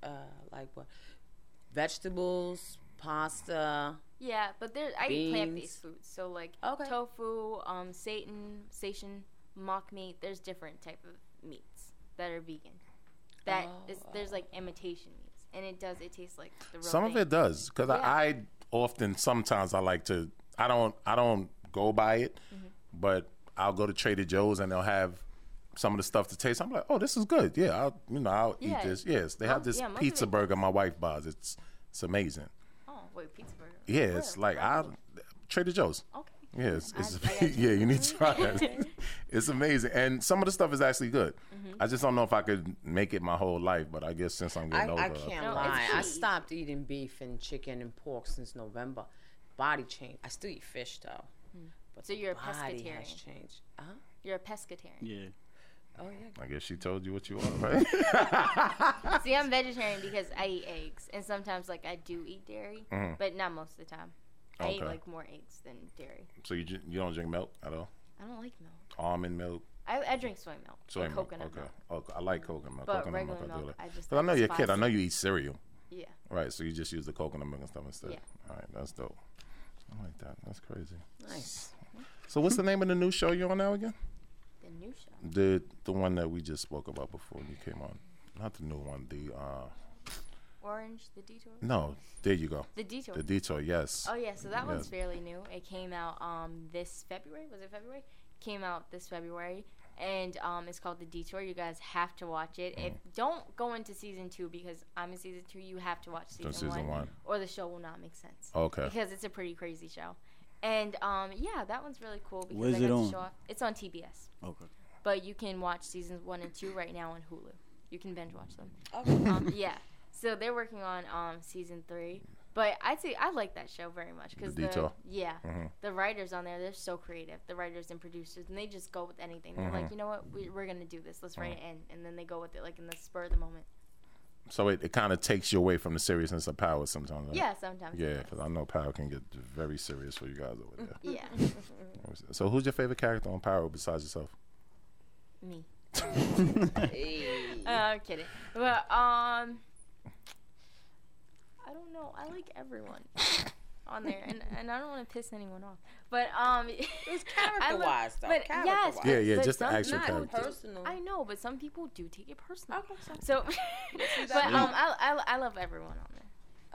Speaker 5: uh, like what? Vegetables, pasta.
Speaker 1: Yeah, but there I eat plant-based
Speaker 5: Beans.
Speaker 1: foods. So like
Speaker 5: Okay.
Speaker 1: tofu, um, seitan, seitan, mock meat. There's different type of meats that are vegan. That is there's like imitation meats, and it does it tastes like the real
Speaker 6: Oh. Some of
Speaker 1: thing.
Speaker 6: it does, because I, I often sometimes I like to. I don't. I don't go by it,
Speaker 1: Mm-hmm.
Speaker 6: but I'll go to Trader Joe's and they'll have some of the stuff to taste. I'm like, oh, this is good. Yeah, I'll you know I'll
Speaker 1: Yeah.
Speaker 6: eat this. Yes, they
Speaker 1: Mo-
Speaker 6: have this
Speaker 1: yeah, most of
Speaker 6: pizza
Speaker 1: it-
Speaker 6: burger my wife buys. It's it's amazing.
Speaker 1: Oh wait, pizza burger.
Speaker 6: Yeah, it's
Speaker 1: Where?
Speaker 6: like I Trader Joe's.
Speaker 1: Okay.
Speaker 6: Yeah, it's, it's
Speaker 1: I got
Speaker 6: yeah, you need to try it. It's amazing, and some of the stuff is actually good.
Speaker 1: Mm-hmm.
Speaker 6: I just don't know if I could make it my whole life, but I guess since I'm
Speaker 5: I,
Speaker 6: getting older,
Speaker 5: I can't
Speaker 1: No, it's
Speaker 5: lie. I
Speaker 1: pretty easy.
Speaker 5: stopped eating beef and chicken and pork since November. Body change. I still eat fish though. But
Speaker 1: Hmm. So
Speaker 5: the
Speaker 1: you're a
Speaker 5: body has
Speaker 1: pescatarian.
Speaker 5: changed. Huh?
Speaker 1: You're a pescatarian.
Speaker 4: Yeah.
Speaker 5: Oh yeah.
Speaker 6: I guess she told you what you are, right?
Speaker 1: See, I'm vegetarian because I eat eggs, and sometimes like I do eat dairy, but not most of the time. I eat
Speaker 6: Mm-hmm. Okay.
Speaker 1: like more eggs than dairy.
Speaker 6: so you ju- you don't drink milk at all?
Speaker 1: I don't like milk.
Speaker 6: almond milk,
Speaker 1: I, I drink soy milk,
Speaker 6: soy
Speaker 1: and
Speaker 6: milk.
Speaker 1: coconut
Speaker 6: okay.
Speaker 1: milk.
Speaker 6: Okay. I like coconut milk.
Speaker 1: But
Speaker 6: coconut
Speaker 1: regular
Speaker 6: I do
Speaker 1: milk,
Speaker 6: like.
Speaker 1: I just
Speaker 6: 'Cause I
Speaker 1: like
Speaker 6: know you're a kid. I
Speaker 1: spicy.
Speaker 6: know you eat cereal,
Speaker 1: Yeah.
Speaker 6: right? So you just use the coconut milk and stuff instead.
Speaker 1: Yeah.
Speaker 6: All right, that's dope. I like that. That's crazy.
Speaker 5: Nice.
Speaker 6: So what's the name of the new show you're on now again?
Speaker 1: The new show.
Speaker 6: The the one that we just spoke about before you came on. Not the new one. The uh
Speaker 1: Orange, the detour.
Speaker 6: no. There you go.
Speaker 1: The detour.
Speaker 6: The detour. Yes.
Speaker 1: oh yeah, so that one's
Speaker 6: Yeah.
Speaker 1: fairly new. It came out um this February. Was it February? Came out this February, and um it's called the detour. You guys have to watch it. If
Speaker 6: Mm.
Speaker 1: don't go into season two because I'm in season two, you have to watch season,
Speaker 6: season
Speaker 1: one,
Speaker 6: one. Oh,
Speaker 1: or the show will not make sense.
Speaker 6: Okay.
Speaker 1: Because it's a pretty crazy show, and um yeah, that one's really cool because
Speaker 4: Where's
Speaker 1: I
Speaker 4: it
Speaker 1: got to
Speaker 4: on?
Speaker 1: show off. It's on TBS,
Speaker 4: Okay.
Speaker 1: but you can watch seasons one and two right now on Hulu. You can binge watch them.
Speaker 5: Okay.
Speaker 1: um, yeah. So they're working on um, season three, but I'd say I like that show very much because
Speaker 6: The
Speaker 1: the,
Speaker 6: detail. Mm-hmm.
Speaker 1: yeah the writers on there they're so creative the writers and producers and they just go with anything they're
Speaker 6: Mm-hmm.
Speaker 1: like you know what we, we're gonna do this let's write it in and then they go with it like in the spur of the moment
Speaker 6: So it, it kind of takes you away from the seriousness of power sometimes. Right?
Speaker 1: yeah sometimes
Speaker 6: Yeah, because I know power can get very serious for you guys over there.
Speaker 1: yeah
Speaker 6: So who's your favorite character on Power besides yourself?
Speaker 1: me Uh, I'm kidding but um I don't know I like everyone on there and, and I don't want to piss anyone off but um it was
Speaker 5: character-wise, though,
Speaker 1: but yes
Speaker 5: character-wise.
Speaker 6: Yeah, yeah,
Speaker 1: but
Speaker 6: just the
Speaker 1: some-
Speaker 6: actual
Speaker 5: Not
Speaker 6: character.
Speaker 5: personal.
Speaker 1: I know, but some people do take it personal.
Speaker 5: Okay, so-
Speaker 1: So, but um, I, I I love everyone on there.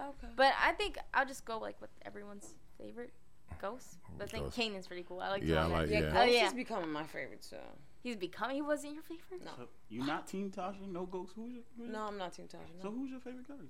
Speaker 5: okay.
Speaker 1: But I think I'll just go like with everyone's favorite ghost. But I think
Speaker 6: Oh, Ghost.
Speaker 1: Kanan's pretty cool. I like.
Speaker 6: Yeah, I
Speaker 1: Conan.
Speaker 6: like-
Speaker 5: yeah,
Speaker 6: yeah.
Speaker 5: Ghost
Speaker 1: Oh, yeah.
Speaker 5: is becoming my favorite too.
Speaker 1: He's become. He wasn't your favorite.
Speaker 5: No.
Speaker 4: You not Team Tasha? No ghosts? Who's your, who's
Speaker 5: No, I'm not Team Tasha.
Speaker 4: your-
Speaker 5: No.
Speaker 4: So who's your favorite character?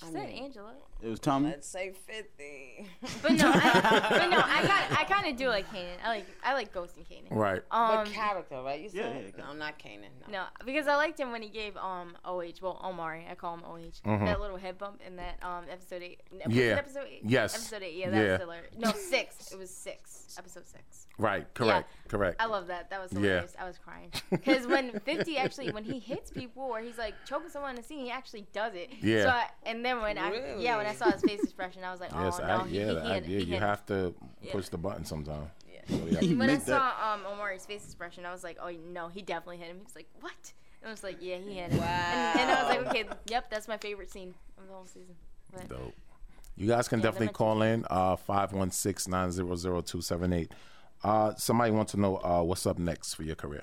Speaker 1: She
Speaker 5: I
Speaker 1: said
Speaker 5: mean-
Speaker 1: Angela.
Speaker 4: It was Tommy.
Speaker 5: Let's say fifty.
Speaker 1: But no, I, but no, I got. I kind of do like Kanan. I like. I like Ghost and Kanan.
Speaker 6: Right.
Speaker 1: Um,
Speaker 5: but character, right? You
Speaker 4: yeah,
Speaker 5: said
Speaker 4: yeah,
Speaker 5: no, I'm not Kanan. No.
Speaker 1: no, because I liked him when he gave um OH. Well, Omari. I call him OH. That little head bump in that um episode eight. Was
Speaker 6: Mm-hmm. Yeah.
Speaker 1: It episode eight.
Speaker 6: Yes.
Speaker 1: Episode eight. Yeah, that
Speaker 6: Yeah.
Speaker 1: was hilarious. No, six. It was six. Episode six.
Speaker 6: Right. Correct. Correct.
Speaker 1: I love that. That was
Speaker 6: Yeah.
Speaker 1: hilarious. I was crying because when Fifty actually, when he hits people or he's like choking someone on the scene, he actually does it.
Speaker 6: Yeah.
Speaker 1: So I, and then when I yeah when I
Speaker 5: Really?
Speaker 1: saw his face expression, I was like, oh
Speaker 6: Yes,
Speaker 1: no,
Speaker 6: I,
Speaker 1: he, he,
Speaker 6: yeah, I,
Speaker 1: had-
Speaker 6: yeah.
Speaker 1: he
Speaker 6: You
Speaker 1: had-
Speaker 6: have to push the button sometime.
Speaker 1: When I
Speaker 4: Make that-
Speaker 1: saw um Omari's face expression, I was like, oh no, he definitely hit him. He was like, what? And I was like, yeah, he hit him. And, and I was like, okay, yep, that's my favorite scene of the whole season. But
Speaker 6: Dope. You guys can definitely call in uh 516-900-278. Uh somebody wants to know uh what's up next for your career.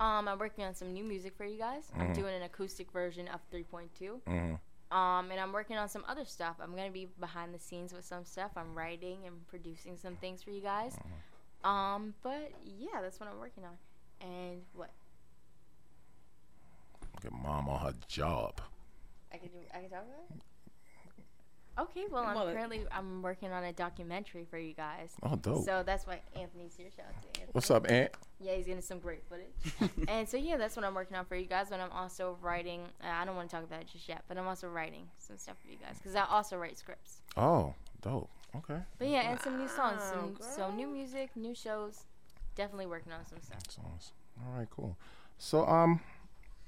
Speaker 1: um, I'm working on some new music for you guys. I'm doing an acoustic version of 3.2.
Speaker 6: Mhm.
Speaker 1: Um, and I'm working on some other stuff. I'm gonna be behind the scenes with some stuff. I'm writing and producing some things for you guys. Um, but yeah, that's what I'm working on. And what
Speaker 6: Get mom on her job.
Speaker 1: I can do, I can talk about. It? Okay, well, I'm
Speaker 5: Well, it-
Speaker 1: currently I'm working on a documentary for you guys.
Speaker 6: Oh dope.
Speaker 1: So that's why Anthony's here. Shout out to Anthony.
Speaker 6: what's up, Aunt?
Speaker 1: Yeah, he's getting some great footage. and so yeah, that's what I'm working on for you guys. But I'm also writing. Uh, I don't want to talk about it just yet, but I'm also writing some stuff for you guys because I also write scripts.
Speaker 6: Oh, dope. Okay.
Speaker 1: But yeah, and some new songs, some, so new music, new shows. Definitely working on some stuff.
Speaker 6: Songs. All right, cool. So um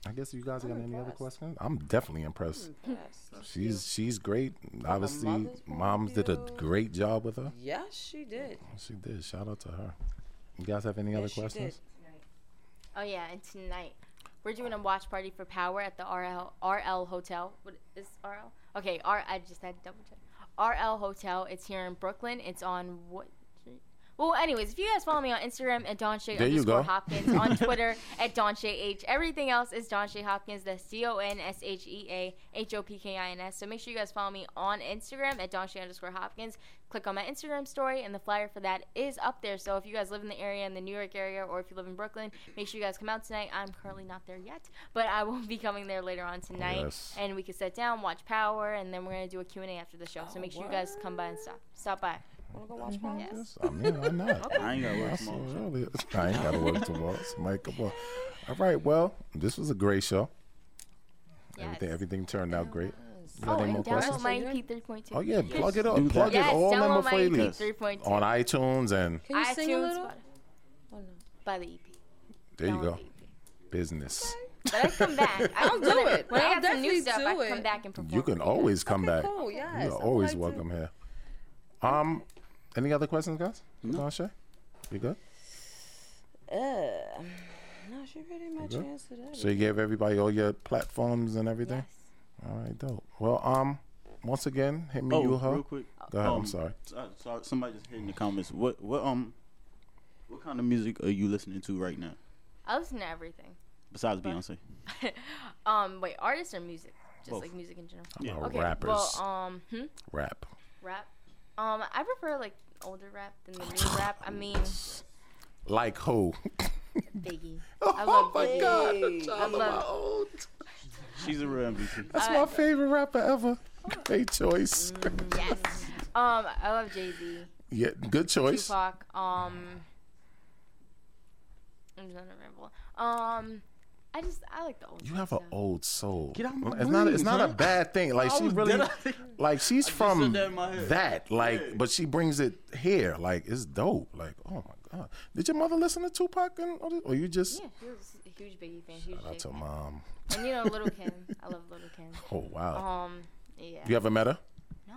Speaker 6: I guess you guys got any other questions? I'm definitely
Speaker 5: Mm,
Speaker 6: impressed. She's she's great. Obviously,
Speaker 5: mother's point
Speaker 6: moms
Speaker 5: of
Speaker 6: did a
Speaker 5: view.
Speaker 6: great job with her.
Speaker 5: Yes, she did.
Speaker 6: She did. Shout out to her. You guys have any other
Speaker 5: she did.
Speaker 6: questions?
Speaker 1: Oh yeah, and tonight we're doing a watch party for Power at the RL RL Hotel. What is RL? Okay, R. I just had to double check. RL Hotel. It's here in Brooklyn. It's on what? street? Well, anyways, if you guys follow me on Instagram at Don Shay
Speaker 6: There you
Speaker 1: underscore
Speaker 6: go.
Speaker 1: Hopkins, on Twitter at Don Shay H. Everything else is Don Shay Hopkins. That's D O N S H E A H O P K I N S. So make sure you guys follow me on Instagram at Don Shay underscore Hopkins. Click on my Instagram story, and the flyer for that is up there. So if you guys live in the area, in the New York area, or if you live in Brooklyn, make sure you guys come out tonight. I'm currently not there yet, but I will be coming there later on tonight,
Speaker 6: Yes.
Speaker 1: and we can sit down, watch Power, and then we're gonna do a Q and A after the show. So make sure you guys come by and stop stop by.
Speaker 5: Wanna go watch Power?
Speaker 1: Yes.
Speaker 6: Yes, I mean, why not?
Speaker 4: I ain't gotta
Speaker 6: I
Speaker 4: work
Speaker 6: said
Speaker 4: tomorrow.
Speaker 6: earlier, I ain't got to work tomorrow. Mike, come on. All right, well, this was a great show. Everything,
Speaker 1: Yes.
Speaker 6: everything turned out great. You got
Speaker 1: Oh,
Speaker 6: any more
Speaker 1: and download
Speaker 6: questions?
Speaker 1: my P3.2.
Speaker 6: Oh yeah, plug it
Speaker 4: Do
Speaker 6: up,
Speaker 4: that.
Speaker 6: plug
Speaker 1: Yes,
Speaker 6: it all
Speaker 1: download my E
Speaker 6: number
Speaker 1: EP
Speaker 4: Yes.
Speaker 1: 3.2.
Speaker 6: on iTunes and
Speaker 5: Can you
Speaker 1: iTunes,
Speaker 5: sing a little? Oh,
Speaker 1: Spotify. By the
Speaker 5: E
Speaker 1: EP.
Speaker 6: there you
Speaker 1: Download
Speaker 6: go,
Speaker 1: the EP.
Speaker 6: business.
Speaker 1: E But I come back. I don't do
Speaker 5: it.
Speaker 1: When I
Speaker 5: I'll
Speaker 1: got some new
Speaker 5: definitely
Speaker 1: stuff,
Speaker 5: do
Speaker 1: I
Speaker 5: it.
Speaker 1: come back and perform.
Speaker 6: You can always come back.
Speaker 5: Cool, yes.
Speaker 6: You're
Speaker 5: I'd
Speaker 6: always
Speaker 5: like to-
Speaker 6: welcome here. Um, any other questions, guys? Tasha, you good?
Speaker 5: Uh, no, she pretty much
Speaker 6: good?
Speaker 5: answered it.
Speaker 6: So you gave everybody all your platforms and everything. All right, dope. Well, um, once again, hit me,
Speaker 4: Oh,
Speaker 6: you, her.
Speaker 4: real quick.
Speaker 6: Go ahead.
Speaker 4: Um,
Speaker 6: I'm sorry.
Speaker 4: so- so- somebody just hit in the comments. What what um what kind of music are you listening to right now
Speaker 1: I listen to everything.
Speaker 4: besides Beyonce?
Speaker 1: Um, wait, artists or music? Just
Speaker 4: Both.
Speaker 1: like music in general.
Speaker 4: Yeah.
Speaker 6: Our
Speaker 1: Okay.
Speaker 6: Oh, rappers
Speaker 1: Well, um, hmm?
Speaker 6: rap.
Speaker 1: rap. Um, I prefer like older rap than the new rap. I mean,
Speaker 6: Like who? Oh
Speaker 1: Biggie. I love Biggie. I love.
Speaker 4: She's a real MVP.
Speaker 6: That's my favorite rapper ever. Great choice.
Speaker 1: Yes. Um, I love Jay Z,
Speaker 6: yeah, good choice.
Speaker 1: Tupac. Um, I'm gonna ramble. Um, I just I like the old.
Speaker 6: You have an
Speaker 1: stuff.
Speaker 6: old soul.
Speaker 4: Get out my
Speaker 6: it's not.
Speaker 4: brains,
Speaker 6: It's not a
Speaker 4: man.
Speaker 6: bad thing. Like
Speaker 4: I
Speaker 6: she
Speaker 4: was
Speaker 6: really,
Speaker 4: dead.
Speaker 6: like she's from
Speaker 4: said that in my head.
Speaker 6: that. Like,
Speaker 4: Yeah.
Speaker 6: but she brings it here. Like it's dope. Like, oh my god. Did your mother listen to Tupac and all this? or you just?
Speaker 1: Yeah, he was a huge Biggie fan. Huge
Speaker 6: Shout out
Speaker 1: Jay
Speaker 6: to
Speaker 1: fan.
Speaker 6: mom.
Speaker 1: And you know, Little Kim. I love Little Kim.
Speaker 6: Oh wow.
Speaker 1: Um, yeah.
Speaker 6: You ever met her?
Speaker 1: No.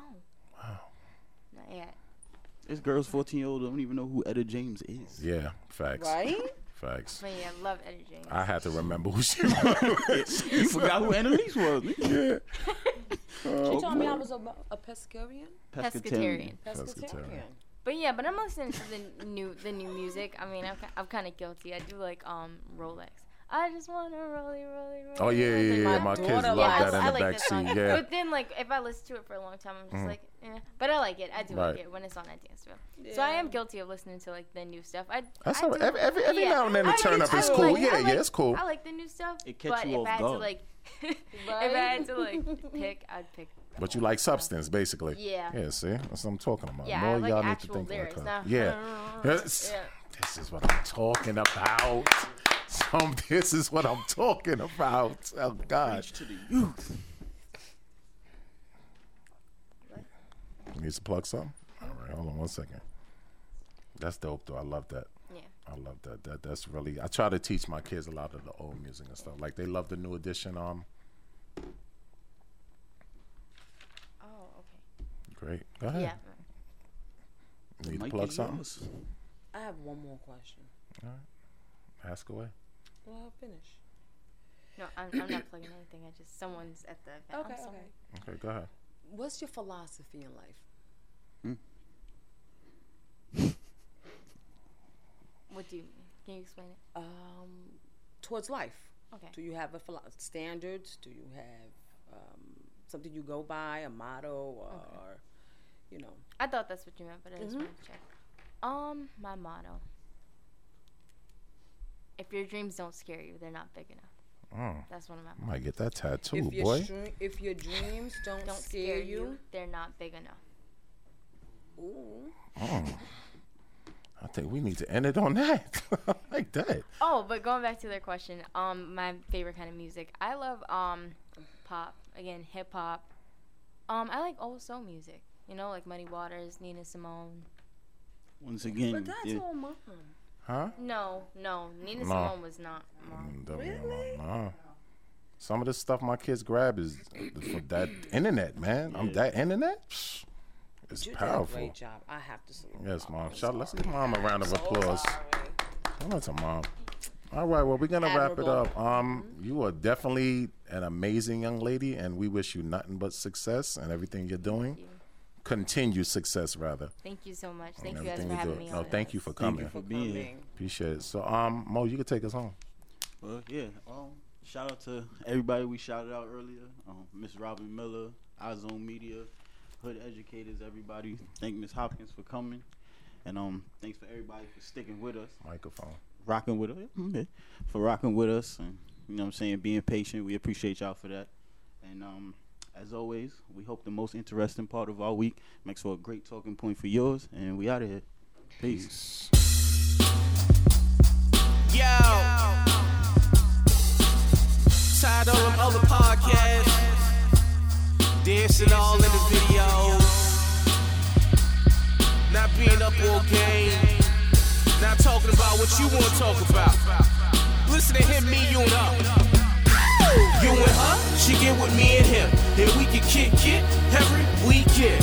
Speaker 1: Not yet.
Speaker 4: This girl's 14 year old don't even know who Etta James is.
Speaker 6: Yeah. Facts.
Speaker 5: Right?
Speaker 6: Facts.
Speaker 1: But yeah, I love Eddie James.
Speaker 6: I had to remember who she was.
Speaker 4: You forgot who Annalise was. nigga.
Speaker 6: yeah.
Speaker 5: She told me I was a, a pescatarian.
Speaker 1: Pescatarian.
Speaker 6: Pescatarian.
Speaker 1: But yeah, but I'm listening to the new the new music. I mean, I'm, ki- I'm kind of guilty. I do like um Rolex. I just wanna rolly, rolly, rolly.
Speaker 6: Oh yeah, yeah, yeah. yeah. My kids
Speaker 5: daughter
Speaker 6: love
Speaker 5: likes-
Speaker 6: that in
Speaker 1: I
Speaker 6: the
Speaker 1: like
Speaker 6: back
Speaker 1: this song.
Speaker 6: seat. Yeah. Mm.
Speaker 1: But then, like, if I listen to it for a long time, I'm just like, eh. But I like it. I do
Speaker 6: Right.
Speaker 1: like it when it's on I dance to it. So I am guilty of listening to like the new stuff. I
Speaker 6: That's
Speaker 1: I
Speaker 6: all right.
Speaker 1: do-
Speaker 6: Every- every- every now and then a
Speaker 1: I like-
Speaker 6: turn up
Speaker 1: I
Speaker 6: is cool.
Speaker 1: like-
Speaker 6: Yeah,
Speaker 1: I
Speaker 6: yeah,
Speaker 1: like-
Speaker 6: it's cool.
Speaker 1: I like the new stuff.
Speaker 4: It catch
Speaker 1: but
Speaker 4: you
Speaker 1: if
Speaker 4: off
Speaker 1: I had to
Speaker 4: guard.
Speaker 1: like, if I had to like pick, I'd pick.
Speaker 6: But you like substance, basically.
Speaker 1: Yeah.
Speaker 6: Yeah, see? That's what I'm talking about.
Speaker 1: Yeah, I
Speaker 6: More
Speaker 1: like
Speaker 6: y'all need to
Speaker 1: actual
Speaker 6: think
Speaker 1: lyrics,
Speaker 6: like her.
Speaker 1: not-
Speaker 6: Yeah. Yes. This is what I'm talking about. Some, this is what I'm talking about. Oh, God.
Speaker 4: To the youth.
Speaker 6: You need to plug something? All right, hold on one second. That's dope, though. I love that.
Speaker 1: Yeah.
Speaker 6: I love that. That that's really. I try to teach my kids a lot of the old music and stuff. Like they love the new edition. Um,
Speaker 1: Oh, okay.
Speaker 6: great. Go ahead.
Speaker 1: Yeah.
Speaker 6: You need to
Speaker 4: Might
Speaker 6: plug
Speaker 4: be
Speaker 6: something.
Speaker 4: yours.
Speaker 5: I have one more question.
Speaker 6: Ask away.
Speaker 5: Well, I'll finish.
Speaker 1: No, I'm, I'm not plugging anything. I just someone's at the event.
Speaker 5: Okay,
Speaker 1: I'm sorry.
Speaker 5: okay.
Speaker 6: Okay, go ahead.
Speaker 5: what's your philosophy in life?
Speaker 1: What do you mean? Can you explain it?
Speaker 5: Um, towards life.
Speaker 1: Okay.
Speaker 5: Do you have a philo- standards? Do you have um, something you go by, a motto, or you know?
Speaker 1: I thought that's what you meant, but I just
Speaker 5: Mhm.
Speaker 1: wanted to check. Um, my motto. If your dreams don't scare you, they're not big enough.
Speaker 5: Oh.
Speaker 6: Mm.
Speaker 1: That's one of my
Speaker 6: I might get that tattoo,
Speaker 5: if your
Speaker 6: boy.
Speaker 5: stre- if your dreams don't,
Speaker 1: Don't
Speaker 5: scare you,
Speaker 1: They're not big enough.
Speaker 5: ooh,
Speaker 6: Mm. I think we need to end it on that. I like that.
Speaker 1: Oh, but going back to their question, um, my favorite kind of music. I love um, pop again, hip hop. Um, I like old soul music. You know, like Muddy Waters, Nina Simone.
Speaker 4: Once again,
Speaker 5: but that's
Speaker 4: yeah,
Speaker 5: all mom.
Speaker 6: Huh?
Speaker 1: No, no, Nina
Speaker 6: No.
Speaker 1: Simone was not. Mom.
Speaker 6: Mm, definitely not. Nah. Some of the stuff my kids grab is for that internet, man. I'm that internet. Psh, It's
Speaker 5: You did a
Speaker 6: powerful.
Speaker 5: great job. I have to say,
Speaker 6: Yes, mom. Shout, let's give mom a round of applause. Shout out to mom. All right, well, we're gonna wrap it up.
Speaker 5: Admirable.
Speaker 6: Um, you are definitely an amazing young lady, and we wish you nothing but success and everything you're doing.
Speaker 1: you.
Speaker 6: Continued success, rather.
Speaker 1: Thank you so much.
Speaker 6: and
Speaker 1: Thank you guys for
Speaker 6: everything
Speaker 1: having
Speaker 6: do.
Speaker 1: me
Speaker 6: No,
Speaker 1: on.
Speaker 6: thank you for
Speaker 4: Thank you
Speaker 6: coming.
Speaker 4: for being here.
Speaker 5: coming.
Speaker 6: Appreciate it. So, um, Mo, you can take us home.
Speaker 4: Well, yeah. Um, shout out to everybody we shouted out earlier. Um, Miss Robin Miller, iZone Media, Hood Educators, everybody. Thank Miss Hopkins for coming, and um, thanks for everybody for sticking with us,
Speaker 6: Microphone.
Speaker 4: rocking with us, okay, for rocking with us, and you know what I'm saying, being patient. We appreciate y'all for that, and um. As always, we hope the most interesting part of our week makes for a great talking point for yours, and we out of here. Peace.
Speaker 2: Yo. Tired of them other podcasts. Dancing all in the videos. Not being up all game. Not talking about what you want to talk about. Listen to him, me, you, and her. You and her, she get with me and him. And we can kick it every weekend.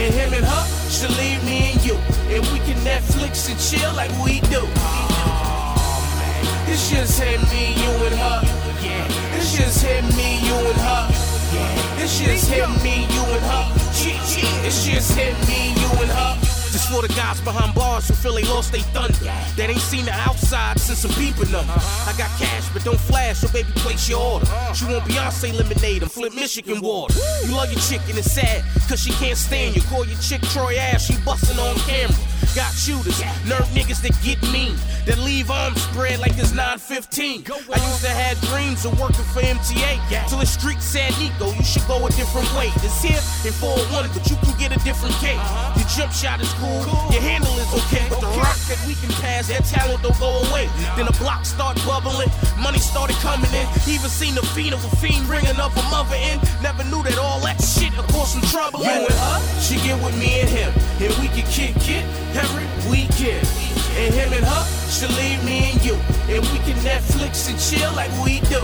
Speaker 2: And him and her, she leave me and you. And we can Netflix and chill like we do. It's just him, me, you, and her. Yeah. It's just him, me, you, and her. Yeah. It's just him, me, you, and her. Yeah, yeah. It's just him, me, you, and her. This for the guys behind bars who feel they lost they thunder. That ain't seen the outside since I'm peeping them. I got cash, but don't flash, so baby, place your order. She want Beyonce lemonade and flip Michigan water. You love your chick and it's sad, cause she can't stand you. Call your chick Troy ass, she bustin' on camera. Got shooters, nerve niggas that get mean, that leave arms spread like it's 915. I used to have dreams of working for MTA, till the street said, Nico, you should go a different way. It's here in 401, but you can get a different cake. Your jump shot is cool, your handle is okay, but the rock that we can pass, that talent don't go away. Then the block start bubbling, money started coming in. Even seen the fiend of a fiend ringing up a mother in. Never knew that all that shit would cause some trouble. You and her, she get with me and him, and we can kick it every weekend. And him and her, she leave me and you, and we can Netflix and chill like we do.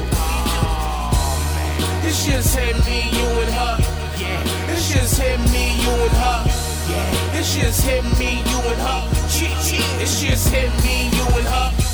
Speaker 2: It's just him, me, you and her. Yeah. It's just him, me, you and her. Yeah. It's just him, me, you and her. Yeah, yeah. It's just him, me, you and her.